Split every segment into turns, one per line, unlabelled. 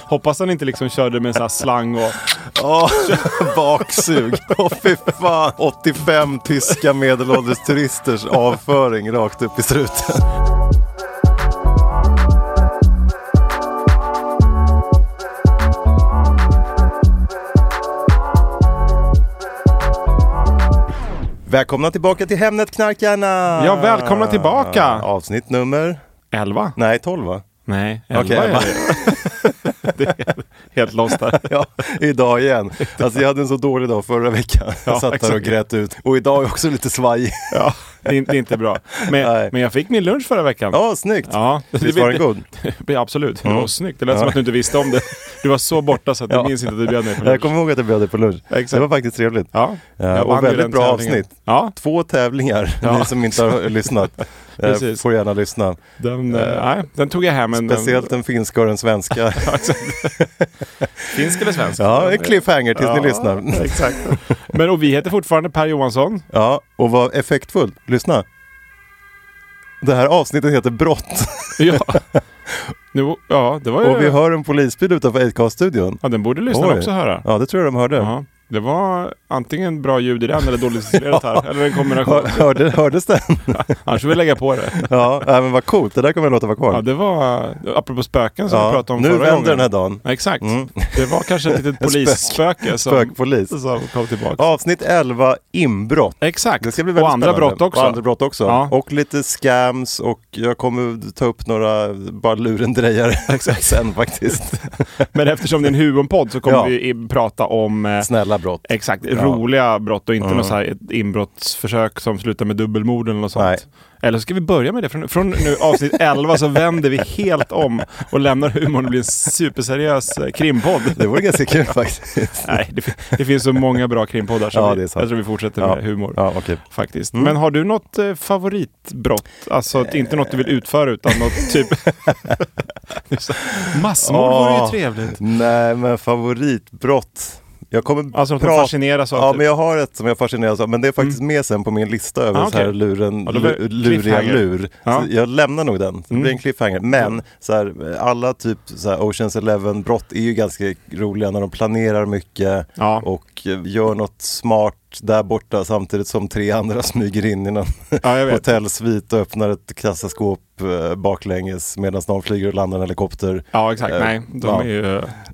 Hoppas han inte liksom körde med en sån här slang och...
Åh, baksug. Åh fy fan. 85 tyska medelålders turisters avföring rakt upp i struten. Välkomna tillbaka till Hemnet Knarkarna!
Ja, välkomna tillbaka!
Avsnitt nummer?
11?
Nej, 12 va?
Nej, 11
Okej,
är
elva.
det. det är helt lost där.
Ja, idag igen. Alltså jag hade en så dålig dag förra veckan. Jag
Ja,
satt där och
exakt.
grät ut. Och idag är jag också lite svajig.
Ja, det, är, det är inte bra. Men,
Nej.
men jag fick min lunch förra veckan.
Ja, snyggt!
Ja.
Visst var den god?
Ja, Absolut. Det var
Mm.
snyggt. Det lät som att du inte visste om det. Du var så borta så att du
Ja.
minns inte att du bjöd mig på lunch.
Jag kommer ihåg att jag bjöd dig på lunch.
Exakt.
Det var faktiskt trevligt.
Ja,
Eh,
jag vann
och
ju
väldigt
den
bra
tävlingen.
avsnitt.
Ja,
Två tävlingar,
Ja.
ni som inte har lyssnat. eh,
Precis. eh,
får gärna lyssna.
den, eh, nej, den tog jag hem. En,
Speciellt den finska och den svenska.
finsk eller svensk.
Ja, en cliffhanger tills
Ja,
ni lyssnar.
Exakt. Men och vi heter fortfarande Per Johansson.
Ja, och var effektfull. Lyssna. Det här avsnittet heter Brott
Ja, nu, ja det var ju...
och vi hör en polisbil utanför Acast-studion.
Ja, den borde lyssnarna
Oj.
också höra.
Ja, det tror jag de hörde.
Ja. Det var antingen bra ljud i den eller dåligt isolerat här. Eller en kombination.
Hör, hörde, hördes den?
Annars får vi lägga på det.
Ja, nej, men vad coolt. Det där kommer jag låta vara kvar.
Ja, det var apropå spöken som
Ja,
vi pratade om
nu
förra
vänder
gången.
den här dagen.
Ja, Exakt.
Mm.
Det var kanske ett litet
Spök.
polisspöke som,
Spökpolis.
som kom tillbaka.
Avsnitt 11, inbrott.
Exakt.
Det ska bli väldigt
och andra
spännande.
brott också.
Och andra brott också.
Ja.
Och lite scams och jag kommer ta upp några bara lurendrejare Exakt. sen faktiskt.
Men eftersom det är en humorpodd så kommer
Ja.
vi i- prata om eh,
Snälla brott.
exakt
Ja.
roliga brott och inte
Mm.
något så här ett inbrottsförsök som slutar med dubbelmord eller något sånt.
Nej.
Eller så ska vi börja med det. Från, från nu avsnitt 11 så vänder vi helt om och lämnar humorn och blir en superseriös eh, krimpodd.
Det vore ganska kul faktiskt.
Nej, det, fi- det finns så många bra krimpoddar så
Ja,
vi,
det är
jag
sant.
tror vi fortsätter
Ja.
med humor.
Ja, okej. Mm.
Faktiskt. Men har du något eh, favoritbrott? Alltså att inte något du vill utföra utan något typ... Det är så- Massmord vore ju
Åh.
trevligt.
Ah. Nej, men favoritbrott. Jag kommer
Alltså något man
prata...
fascineras av.
Ja,
typ.
men jag har ett som jag fascineras av, men det är faktiskt med sen på min lista över
Mm. Ah,
så här
okej.
luren,
Ja, då blir-
lu- luriga
cliffhanger.
lur.
Ja.
Så jag lämnar nog den, det
Mm.
blir en cliffhanger. Men så här, alla typ så här Oceans Eleven-brott är ju ganska roliga när de planerar mycket
Ja.
och eh, gör något smart där borta samtidigt som tre andra smyger in i någon
ja, jag vet.
hotellsvit och öppnar ett kassaskåp eh, baklänges medan någon flyger och landar en helikopter.
Ja, exakt.
Eh,
Nej, de
ja.
är ju...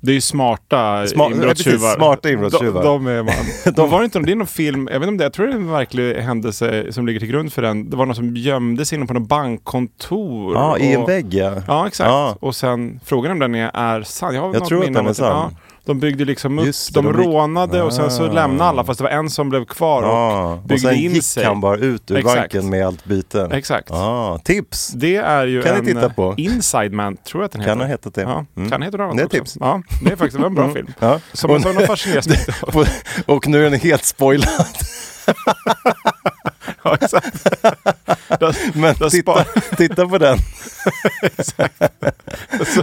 Det är ju smarta
Sma-
inbrottstjuvar.
precis, smarta inbrottstjuvar.
De, de är man. de... Var det inte någon, det är någon film, jag vet inte om det, jag tror det är en verklig händelse som ligger till grund för den. Det var någon som gömde sig inne på något bankkontor.
Ja, i en
och-
vägg ja.
Ja, exakt.
Ja.
Och sen frågan om den är, är sann. Jag, har
Jag
något
tror att
minne
den
om
är
att den-
sann.
de byggde liksom upp,
Just det,
de,
de gick-
rånade och sen så
Ah.
lämnade alla fast det var en som blev kvar
Ja,
och
och,
byggde
sen
in
gick
sig.
han bara ut ur
Exakt.
banken med allt byte.
Exakt.
Ah, tips!
Det är ju
Kan ni
en eh,
titta på?
Inside Man, tror jag att den heter.
Kan ha hetat det.
Ja,
Mm.
kan heta något annat
Det är
också.
tips. Mm.
Ja, det är faktiskt det var en bra film.
Ja.
Som man sa, någon fascineras mig inte av.
Och, och nu är den helt spoilad.
Ja, exakt. Där-
Men
där
titta,
spar-
titta på den.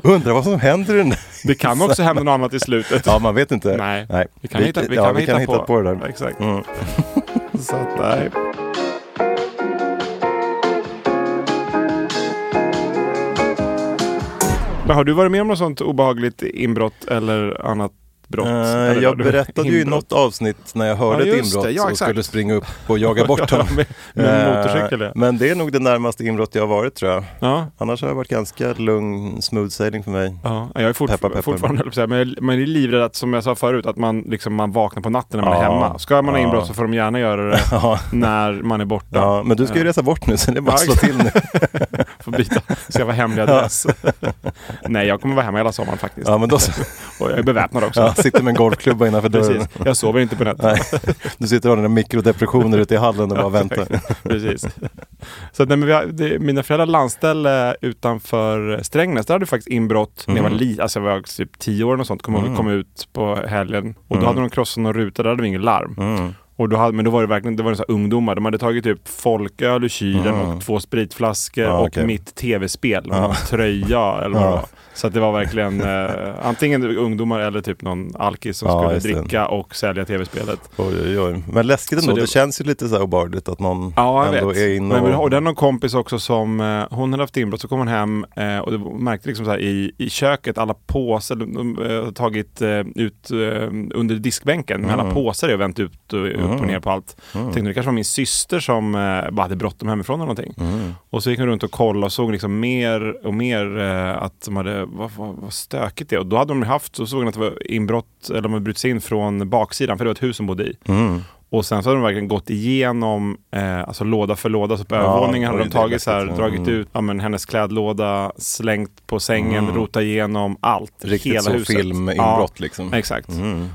Undrar vad som händer i den där.
Det kan också hända något annat i slutet.
Ja, man vet inte.
Nej. Vi kan hitta- vi
ja,
kan
vi kan
hitta
hitta
på.
på det där.
Exakt.
Mm.
Så att, nej. Men har du varit med om något sånt obehagligt inbrott eller annat brott?
Eh,
Eller
jag
vad det-
berättade ju i
inbrott?
något avsnitt när jag hörde
Ja,
ett
just det.
inbrott
Ja,
och
exakt.
skulle springa upp och jaga bort honom.
med, med
Eh,
motorcykel. ja.
Men det är nog det närmaste inbrott jag har varit tror jag.
Ja.
Annars har det varit ganska lugn, smooth sailing för mig.
Ja, jag är fortfar-
Peppar, peppar.
fortfarande, höll jag på att säga, men jag, man är livrädd att, som jag sa förut, att man, liksom, man vaknar på natten när man är
Ja.
hemma. Ska man ha
Ja.
inbrott så får de gärna göra det
Ja,
när man är borta.
ja, men du ska ju resa bort nu så det är bara att
Ja,
slå till nu.
Får byta, skaffa hemlig adress. Nej, jag kommer vara hemma hela sommaren faktiskt.
Ja, men då så.
Och jag är beväpnad också.
Ja, sitter med en golfklubba innanför dörren.
Precis. Jag sover inte på nätterna.
Nej, du sitter och har dina mikrodepressioner ute i hallen och bara väntar.
Precis. Så att, nej, men vi har, det, mina föräldrar landställe utanför Strängnäs, där hade vi faktiskt inbrott när
Mm.
jag var liten. Alltså jag var typ tio år och sånt. Kom, mm. kom ut på helgen och
Mm.
då hade de krossat någon ruta, där hade vi ingen larm. Och då hade, men då var det verkligen det var så här ungdomar. De hade tagit typ folköl ur kylen och två spritflaskor
Mm. Ja,
och
okej.
mitt tv-spel. och någon Tröja eller vad det
Ja.
var. Så att det var verkligen eh, antingen ungdomar eller typ någon alkis som
Ja, just
skulle
det.
dricka och sälja tv-spelet.
Oj, oj, oj. Men läskigt ändå,
Så
det...
det-
känns ju lite så här obehagligt att någon
Ja, jag
ändå
vet.
är inne
Men,
och...
vi har- och den någon kompis också som, eh, hon hade haft inbrott, så kom hon hem eh, och det var- märkte liksom så här i, i köket alla påsar, de, de eh, har tagit eh, ut eh, under diskbänken med alla påsar i och vänt ut och, upp och ner på allt. Tänkte det kanske var min syster som eh, bara hade bråttom hemifrån eller någonting. Och så gick hon runt och kollade och såg liksom mer och mer eh, att de hade, vad, vad, vad stökigt det är. Och då hade de haft, så såg hon att det var inbrott, eller de hade brutit sig in från baksidan, för det var ett hus som bodde i. Och sen så har de verkligen gått igenom eh, alltså låda för låda. Så på övervåningen har
oj,
de
det är Mm.
tagit så här,
läskigt.
dragit ut ja, men, hennes klädlåda, slängt på sängen, rotat igenom allt.
Mm. Riktigt
hela
så
huset.
filminbrott
Ja,
liksom.
Exakt.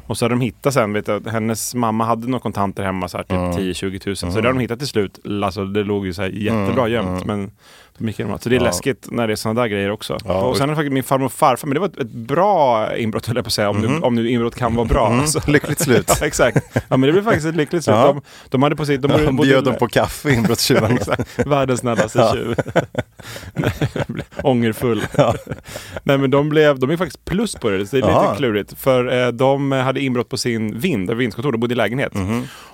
Och så har de hittat sen, vet jag, hennes mamma hade några kontanter hemma, så här, typ 10-20 000.
Mm.
Så det har de hittat till slut. Alltså, det låg ju så här jättebra gömt. Men de gick igenom allt. Så det är läskigt när det är sådana där grejer också.
Ja, och-
och sen har faktiskt min farmor och farfar, men det var ett, ett bra inbrott höll jag på att säga, om, nu, om nu inbrott kan vara bra. Alltså.
Mm-hmm. Lyckligt slut.
Ja, exakt. Ja, men det blev faktiskt ett lyckligt slut.
Ja.
De, de hade på sitt... De
De bjöd dem på kaffe, inbrottstjuvarna.
Världens snällaste tjuv. Ångerfull. Nej men de blev, de är faktiskt plus på det, så det är
Jaha.
lite klurigt. För eh, de hade inbrott på sin vind, där vindskontor, de bodde i lägenhet.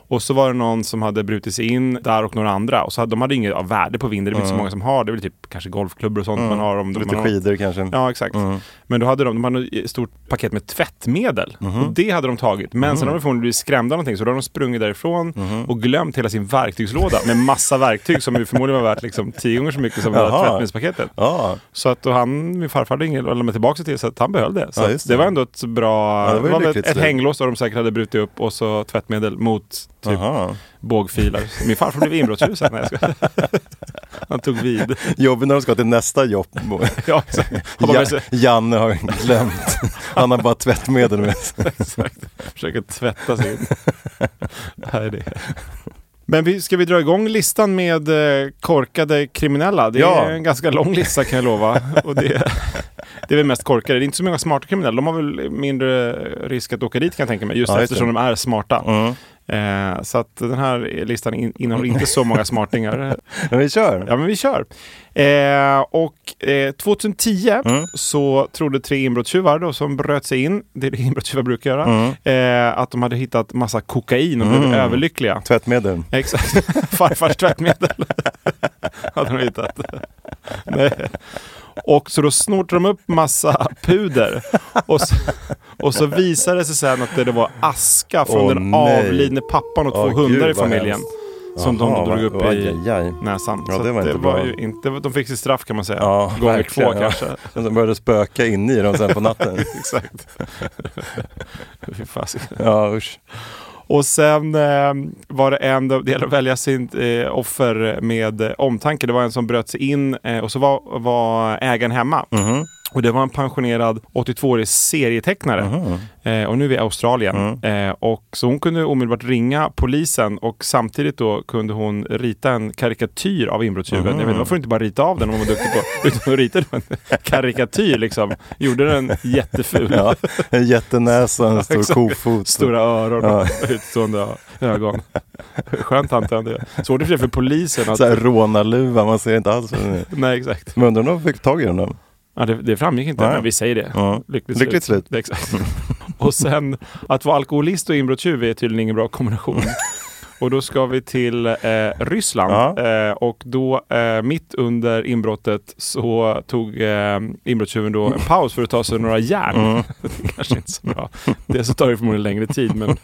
Och så var det någon som hade brutit sig in där och några andra. Och så hade, de hade inget av värde på vind, det är väl inte så många som har. Det är väl typ kanske golfklubbor och sånt man har. Om de-
Lite
man har,
skidor kanske.
Ja, exakt.
Mm.
Men då hade de, de hade ett stort paket med tvättmedel.
Mm-hmm.
Och det hade de tagit. Men sen har de förmodligen blivit skrämda av någonting så då har de sprungit därifrån
Mm-hmm.
och glömt hela sin verktygslåda med massa verktyg som ju förmodligen var värt liksom tio gånger så mycket som det
Jaha.
där tvättmedelspaketet.
Ja,
Så att och han, min farfar hade ingen, och lämnade tillbaka det till så att han behöll det. Så
Ja,
att
just det.
det. var ändå ett bra,
Ja, det
det
var ju
var väl ett,
lyckligt
ett
slut.
hänglås där de säkert hade brutit upp och så tvättmedel mot typ
aha.
bågfilar. Min farfar blev inbrottstjuv sen. när jag ska- Han tog vid.
Jobbigt när de ska till nästa jobb.
Ja, exakt. Har man
ja,
med sig-
Janne har glömt. Han har bara tvättmedel med sig.
Exakt. Försöker tvätta sig in. Det här är det. Men vi, ska vi dra igång listan med eh, korkade kriminella? Det är
Ja.
en ganska lång lista kan jag lova. Och det, det är väl mest korkade. Det är inte så många smarta kriminella. De har väl mindre risk att åka dit kan jag tänka mig. Just Mm.
Ja, just
eftersom
det.
de är smarta. Eh, så att den här listan in, innehåller inte så många smartingar.
Men vi kör.
Ja, men vi kör. Eh, och eh, 2010 så trodde tre inbrottstjuvar då, som bröt sig in, det är det inbrottstjuvar brukar göra, eh, att de hade hittat massa kokain och blev överlyckliga.
Tvättmedel.
Exakt. Farfars tvättmedel hade de hittat. Nej. Och så då snortade de upp massa puder. Och så, och så visade det sig sen att det, det var aska från
Åh,
den
nej.
avlidne pappan och två
Åh,
hundar i
gud, vad
familjen.
hemskt.
Som
Jaha,
de drog upp
vad-
i
aj, aj.
näsan.
Ja,
Så
det var
att
inte bra.
ju inte, de fick sitt straff kan man säga.
Ja,
Gånger
verkligen,
två
ja.
kanske.
Sen så började det spöka in i dem sen på natten.
Exakt. Fy fasiken.
Ja, usch.
Och sen eh, var det en, det gäller att välja sin eh, offer med eh, omtanke. Det var en som bröt sig in eh, och så var, var ägaren hemma. Och det var en pensionerad 82-årig serietecknare. Eh, och nu är vi i Australien. Eh, och så hon kunde omedelbart ringa polisen och samtidigt då kunde hon rita en karikatyr av inbrottstjuven. Jag vet inte, man får inte bara rita av den om man var duktig på utan hon ritade en karikatyr liksom. Gjorde den jätteful.
Ja, en jättenäsa, en stor
exakt.
kofot.
Stora öron och
Ja.
utstående ögon. Skönt antänder jag. Svårt i och för sig för polisen att...
Så här rånarluva, man ser inte alls. vad den är.
Nej, exakt.
Men undrar om de fick tag i den då?
Ja, det, det framgick inte,
Nej.
men vi säger det.
Ja.
Lyckligt,
Lyckligt slut.
Det är exakt. och sen, att vara alkoholist och inbrottstjuv är tydligen ingen bra kombination. Och då ska vi till eh, Ryssland.
Ja.
Eh, och då eh, mitt under inbrottet så tog eh, inbrottstjuven då en paus för att ta sig några järn.
Mm.
det kanske inte är så bra. Det så tar det förmodligen längre tid. Men,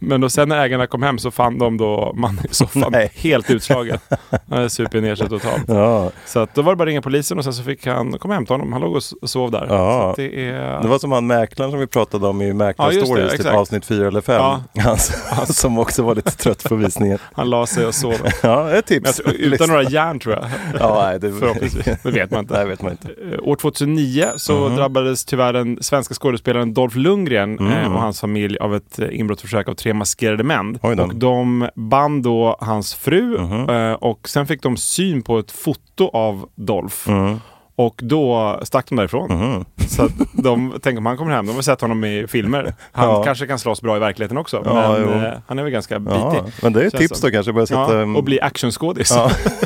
men då sen när ägarna kom hem så fann de då mannen i soffan
Nej.
helt utslagen. Han hade supit ner sig totalt.
Ja.
Så att då var det bara att ringa polisen och sen så fick han komma och hämta honom. Han låg och s- sov där.
Ja.
Så att det är...
Det var som han mäklaren som vi pratade om i
Ja, just det,
Mäklarstories, typ
exakt.
avsnitt 4 eller 5.
Ja.
Han, han som också var lite trött på visningen.
Han la sig och sov. Men
Ja, ett
jag
tips.
tror, Alltså, utan några järn tror jag.
Ja, nej, det...
Förhoppningsvis. Det vet man inte.
Nej, vet man inte.
Eh, År 2009 så
Mhm.
drabbades tyvärr den svenska skådespelaren Dolph Lundgren
Mm.
eh, och hans familj av ett eh, inbrottsförsök av tre maskerade män.
Oj då. Mhm.
Och de band då hans fru eh, och sen fick de syn på ett foto av Dolph.
Mm.
Och då stack de därifrån.
Mhm.
Så att de tänk om han kommer hem. De har sett honom i filmer. Han
Ja.
kanske kan slåss bra i verkligheten också.
Ja, jo.
men eh, han är väl ganska bitig.
Ja, men det är ett
Känns
tips
som.
då kanske. Börja sätta,
Ja, och bli actionskådis.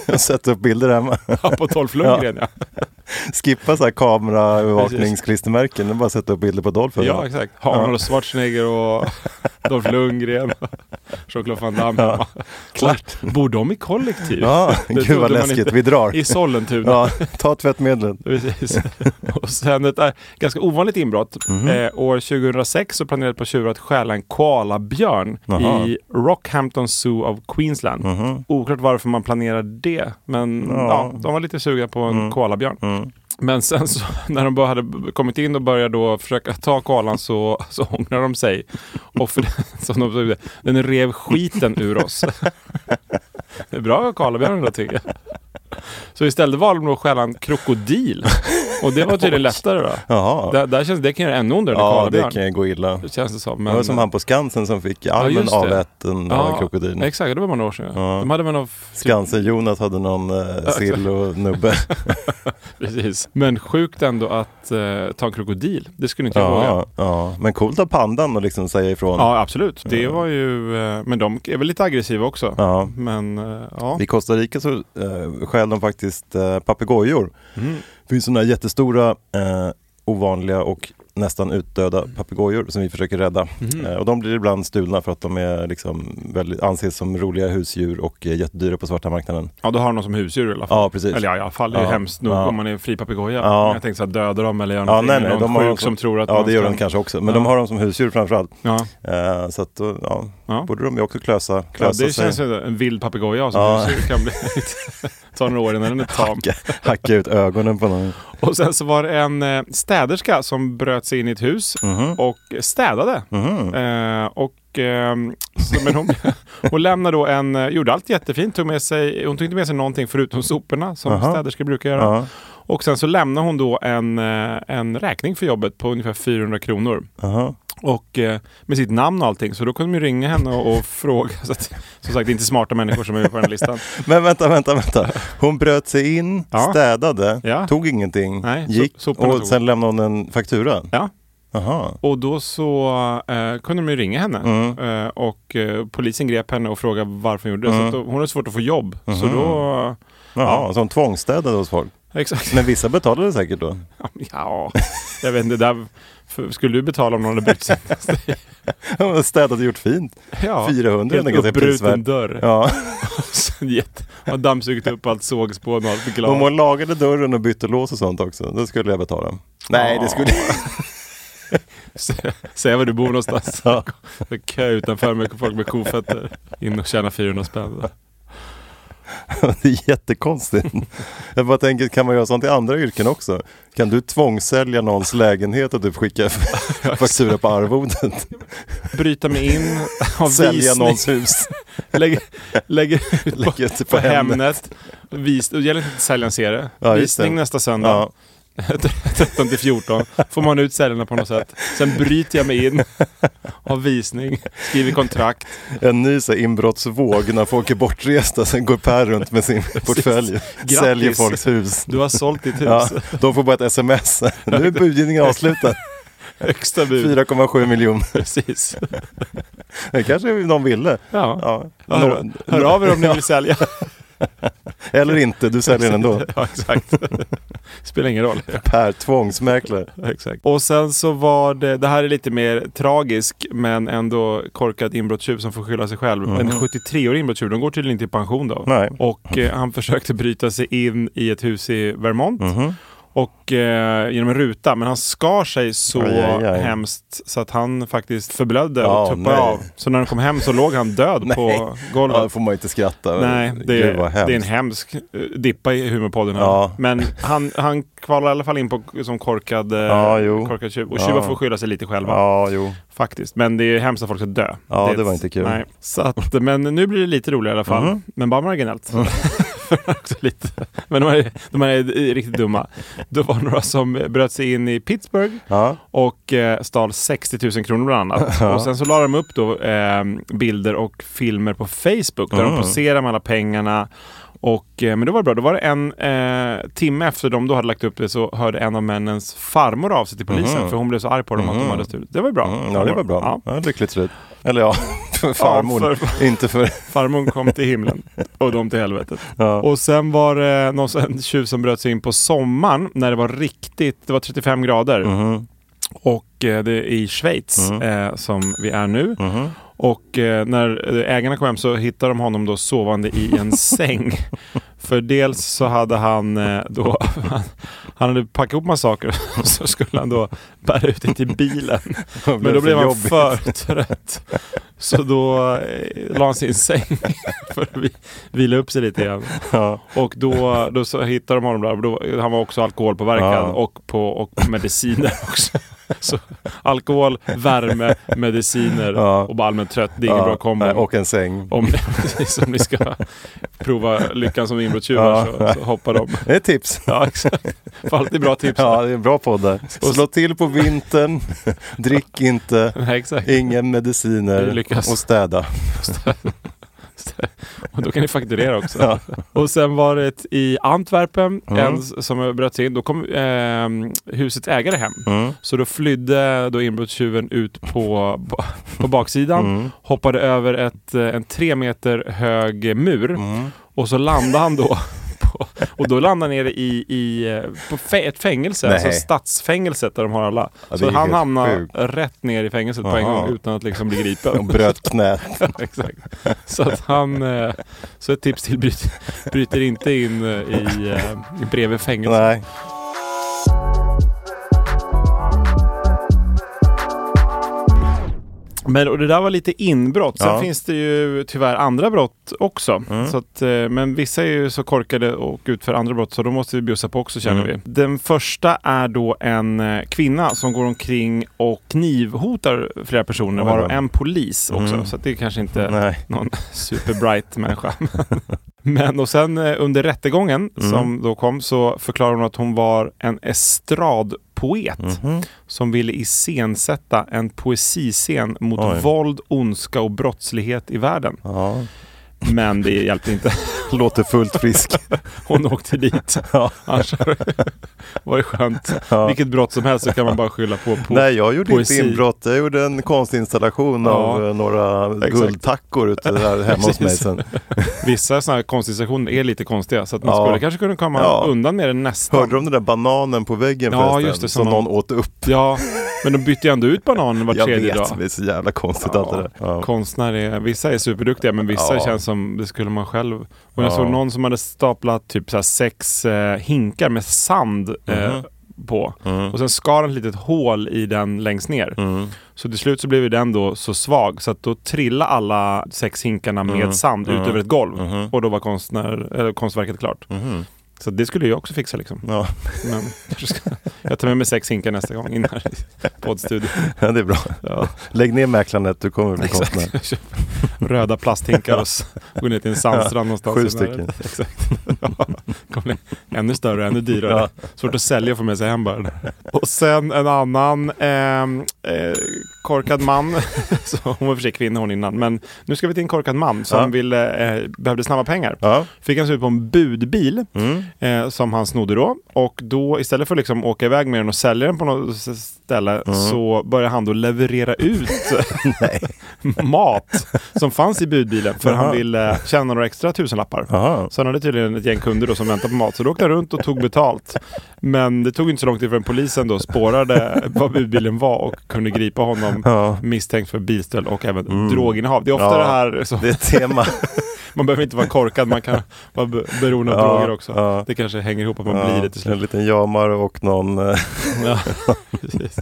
ja, sätta upp bilder hemma.
på Dolph Lundgren ja.
Skippa så här kameraövervakningsklistermärken. Det är Bara sätta upp bilder på Dolph.
Ja, exakt. Arnold Schwarzenegger och Dolph Lundgren. Jean-Claude Van Damme.
Ja, klart.
Bor de i kollektiv?
Ja,
Det
gud
trodde
vad
man
läskigt.
inte.
Vi drar.
I Sollentuna.
Ja, ta tvättmedlen.
Precis. Och sen ett äh, ganska ovanligt inbrott.
Mhm.
Eh, år 2006 så planerade ett par tjuvar att stjäla en koalabjörn
Jaha. Mhm.
i Rockhampton Zoo av Queensland. Oklart varför man planerade det, men ja. de var lite sugna på
Mm.
en koalabjörn. Men sen så, när de bara hade kommit in och började då försöka ta koalan så, så ångrade de sig. Och för den, som de sa, den rev skiten ur oss. Det är bra koalabjörn då tycker jag. Så istället valde de då att stjäla en krokodil. Och det var tydligen lättare då.
Jaha.
Där, där känns, det kan göra ännu ondare än en
Ja, det
koalabjörn.
kan ju gå illa.
Det känns det som.
Det
Men,
var som han på Skansen som fick armen
just det.
aväten av en krokodil.
Exakt, det var några år sedan.
Ja.
De hade väl någon... f- Typ,
Skansen-Jonas hade någon eh, sill och nubbe.
typ- precis. Men sjukt ändå att eh, ta en krokodil. Det skulle inte jag våga.
ja, ja. Men coolt av pandan och liksom säga ifrån.
Ja, absolut. Det var ju... Eh, men de är väl lite aggressiva också.
Ja.
Men eh, ja.
I Costa Rica så eh, stjäl de faktiskt eh, papegojor. Det finns sådana här jättestora, eh, ovanliga och nästan utdöda papegojor som vi försöker rädda. Eh, och de blir ibland stulna för att de är liksom väldigt, anses som roliga husdjur och är jättedyra på svarta marknaden.
ja, då har de någon som husdjur i alla fall.
Ja, precis.
Eller ja, i alla fall. Det är ju
Ja.
hemskt nog
Ja.
om man är en fri papegoja.
Ja.
Men Jag tänkte så här, döda dem eller göra
Ja,
någonting.
nej, nej,
någon
de har
sjuk
dem
som tror att
Ja,
man
det gör
ska-
de kanske också. Men
Ja.
de har dem som husdjur framförallt.
Ja.
Eh, så att, då, ja,
Ja.
borde de ju också klösa,
Ja,
klösa
det
sig.
känns ju en vild papegoja som
Ja.
husdjur kan bli. ta några år innan den är tam.
hacka, hacka ut ögonen på någon.
Och sen så var det en eh, städerska som bröt sig in i ett hus
Mhm.
och städade. Eh, och, ehm, så, men hon, hon lämnade då en, eh, gjorde allt jättefint, tog med sig, hon tog inte med sig någonting förutom soporna som
Aha.
städerskor brukar göra.
Ja.
Och sen så lämnade hon då en, eh, en räkning för jobbet på ungefär 400 kronor.
Aha.
Och eh, med sitt namn och allting, så då kunde de ju ringa henne och, och fråga. Så att, som sagt, det är inte smarta människor som är med på den här listan.
Men vänta, vänta, vänta. Hon bröt sig in,
Ja.
städade,
Ja.
tog ingenting,
Nej, so-
gick
soporna
och
tog.
sen lämnade hon en faktura.
Ja.
Aha.
Och då så eh, kunde de ju ringa henne
Mm.
eh, och eh, polisen grep henne och frågade varför hon gjorde
Mm.
det. Så att då, hon hade svårt att få jobb. Så då...
Jaha, så hon tvångsstädade hos folk.
Exakt.
Men vissa betalade säkert då.
Ja, jag vet inte. Där, för, skulle du betala om någon hade brutit sig in?
Hon hade städat och gjort fint.
ja,
400 är
Helt
ganska
uppbruten
prisvärt.
dörr.
Ja.
Sen jätte- Har dammsugit upp allt sågspån och allt
Om
glas.
hon lagade dörren och bytte lås och sånt också, då skulle jag betala. Nej, det skulle
Säg var du bor någonstans.
Ja.
Det är Kö utanför med folk med kofötter. In och tjäna 400 spänn.
Det är jättekonstigt. Jag bara tänker, kan man göra sånt i andra yrken också? Kan du tvångssälja någons lägenhet och typ skicka faktura på arvodet?
Bryta mig in. ha
Sälja
visning.
någons hus?
Lägger, lägger ut på,
Lägger ut
på,
på
Hemnet. Vis, det gäller inte att sälja en serie.
Ja, just det.
Visning nästa söndag.
Ja.
13 till 14. Får man ut säljarna på något sätt. Sen bryter jag mig in. Har visning. Skriver kontrakt.
En ny så här, inbrottsvåg när folk är bortresta, sen går Per runt med sin portfölj,
Grattis.
säljer folks hus.
Du har sålt ditt hus.
Ja, de får bara ett sms. Nu är budgivningen avslutad.
Högsta bud.
4,7 miljoner.
Precis.
Det kanske någon ville.
Ja.
Ja.
Hör,
Nå-
hör av er om ni vill sälja.
Eller inte, du säljer den ändå.
ja, exakt. Spelar ingen roll.
Per tvångsmäklare.
Exakt. Och sen så var det, det här är lite mer tragisk men ändå korkad inbrottstjuv som får skylla sig själv. En 73-årig inbrottstjuv, de går tydligen inte i pension då.
Mm. Nej.
Och eh, han försökte bryta sig in i ett hus i Vermont.
Mm-hmm.
Och eh, genom en ruta, men han skar sig så
Aj, aj, aj.
hemskt så att han faktiskt förblödde
Ja,
och tuppade
nej.
av. Så när han kom hem så låg han död på golvet.
Ja, då får man ju inte skratta.
Nej, det
Gud, vad
är,
hemskt.
det är en hemsk eh, dippa i humorpodden här.
Ja.
Men han, han kvalar i alla fall in på, som korkad, eh,
Ja, jo.
korkad tjuv. Och
Ja.
tjuvar får skylla sig lite själva.
Ja, jo.
Faktiskt. Men det är hemskt att folk ska dö.
Ja,
är
det var
ett-
inte kul. Mhm.
Nej. Så att, men nu blir det lite roligare i alla fall. Men bara marginellt.
Mm.
För också lite. Men de här, de här är riktigt dumma. Då var det några som bröt sig in i Pittsburgh
Ja.
och eh, stal 60 000 kronor bland annat. Och sen så la de upp då eh, bilder och filmer på Facebook där
Mm.
de poserar med alla pengarna. Och, eh, men då var det bra. Då var det en eh, timme efter de då hade lagt upp det så hörde en av männens farmor av sig till polisen för hon blev så arg på dem att de hade stulit. Det var ju bra.
Mm, ja, det var bra.
Ja.
Ja. lyckligt slut. Eller ja, för farmor.
för-
Inte för...
Farmor kom till himlen och de till helvetet.
Ja.
Och sen var det någon, sån- en tjuv som bröt sig in på sommaren när det var riktigt, det var 35 grader. Och eh, det är i Schweiz eh, som vi är nu. Och eh, när eh, ägarna kom hem så hittade de honom då sovande i en säng. För dels så hade han eh, då, han, han hade packat ihop massa saker så skulle han då bära ut det till bilen. Men då blev han för trött. Så då eh, la han sig i en säng för att vi, vila upp sig lite igen.
Ja.
Och då, då så hittade de honom där. Då, han var också alkoholpåverkad
Ja.
och på och mediciner också. Så alkohol, värme, mediciner
Ja.
och bara allmänt trött. Det är ingen
Ja,
bra kombo.
nej, Och en säng.
Om, om ni ska prova lyckan som inbrottstjuvar
Ja.
så, så hoppa dem.
Det är ett tips.
Ja, exakt. För alltid bra tips.
Ja, det är en bra podd där. Slå till på vintern, drick inte,
Nej, exakt.
inga
Det
mediciner
lyckas.
och städa.
Och då kan ni fakturera också. Och sen var det i Antwerpen,
Mm.
en s- som bröt sig in. Då kom ehm, husets ägare hem.
Mm.
Så då flydde då inbrottstjuven ut på, ba- på baksidan,
Mm.
hoppade över ett, eh, en tre meter hög mur
Mm.
och så landade han då på, och då landade han nere i, i eh, på fä- ett fängelse,
Nej.
alltså stadsfängelset där de har alla.
Ja, det
så
är
han
helt
hamnade
sjukt.
rätt ner i fängelset på en
Aha.
gång utan att liksom bli gripen.
Och bröt knät.
Exakt. Så att han... eh, Så ett tips till bryter, bryter inte in eh, i eh, bredvid fängelset.
Nej.
Men och det där var lite inbrott. Sen
Ja. Mm.
finns det ju tyvärr andra brott också. Så att, eh, men vissa är ju så korkade och utför andra brott så de måste vi bjussa på också känner
Mm.
vi. Den första är då en eh, kvinna som går omkring och knivhotar flera personer,
Oj,
varav
oj.
en polis också. Så att det är kanske inte
Nej.
någon superbright människa. Men och sen eh, under rättegången
Mm.
som då kom så förklarade hon att hon var en estradpoet
Mhm.
som ville iscensätta en poesiscen mot
Oj.
våld, ondska och brottslighet i världen.
Ja.
Men det hjälpte inte.
Låter fullt frisk.
Hon åkte dit.
Ja.
Annars var det skönt. Vilket brott som helst så kan man bara skylla på, på
Nej, jag gjorde
poesi.
inte inbrott. Jag gjorde en konstinstallation
Ja.
av eh, några
Exakt.
guldtackor ute där hemma hos mig sen.
Vissa sådana här konstinstallationer är lite konstiga så att man
Ja.
skulle kanske kunna komma
Ja.
undan med det nästan.
Hörde du om den där bananen på väggen
Ja,
förresten?
just det, som
som någon
någon
åt upp.
Ja, men de bytte ju ändå ut bananen var
Jag
tredje
vet,
dag.
det är så jävla konstigt allt det där. Ja.
Konstnärer, vissa är superduktiga men vissa
Ja.
känns som det skulle man själv. Och jag
Ja.
såg någon som hade staplat typ så här sex eh, hinkar med sand eh,
Mhm.
på. Och sen skar han ett litet hål i den längst ner.
Mhm.
Så till slut så blev ju den då så svag så att då trillade alla sex hinkarna
Mhm.
med sand ut över ett golv. Och då var konstnär, eller konstverket klart. Så det skulle jag också fixa liksom.
Mhm. Ja.
Men jag, ska, jag tar med mig sex hinkar nästa gång in här i poddstudion.
ja, det är bra.
Ja.
Lägg ner mäklarnät, du kommer bli konstnär.
Jag köper Röda plasthinkar och s- går ner till en sandstrand någonstans.
Sju
i närheten.
stycken.
Exakt. Ja, kommer ner. ännu större, ännu dyrare.
Ja.
Svårt att sälja och få med sig hem bara. Och sen en annan ehm, eh, korkad man. så hon var för sig kvinna hon innan. Men nu ska vi till en korkad man som
Ja.
ville, eh, behövde snabba pengar.
Ja. Mm.
Fick han sig ut på en budbil eh, som han snodde då. Och då istället för att liksom åka iväg med den och sälja den på något s- ställe
Mm.
så började han då leverera ut mat som fanns i budbilen för
Jaha.
han ville tjäna några extra tusenlappar.
Jaha.
Så han hade tydligen ett gäng kunder då som väntade på mat så då åkte han runt och tog betalt. Men det tog inte så lång tid förrän polisen då spårade vad budbilen var och kunde gripa honom
Ja. Mm.
misstänkt för bilstöld och även droginnehav. Det är ofta
Ja.
det här som
Det är ett tema.
man behöver inte vara korkad, man kan vara be- beroende av
Ja,
droger också.
ja.
Det kanske hänger ihop att man
Ja,
blir det till
en
slut.
liten jamare och någon... eh,
Ja, precis.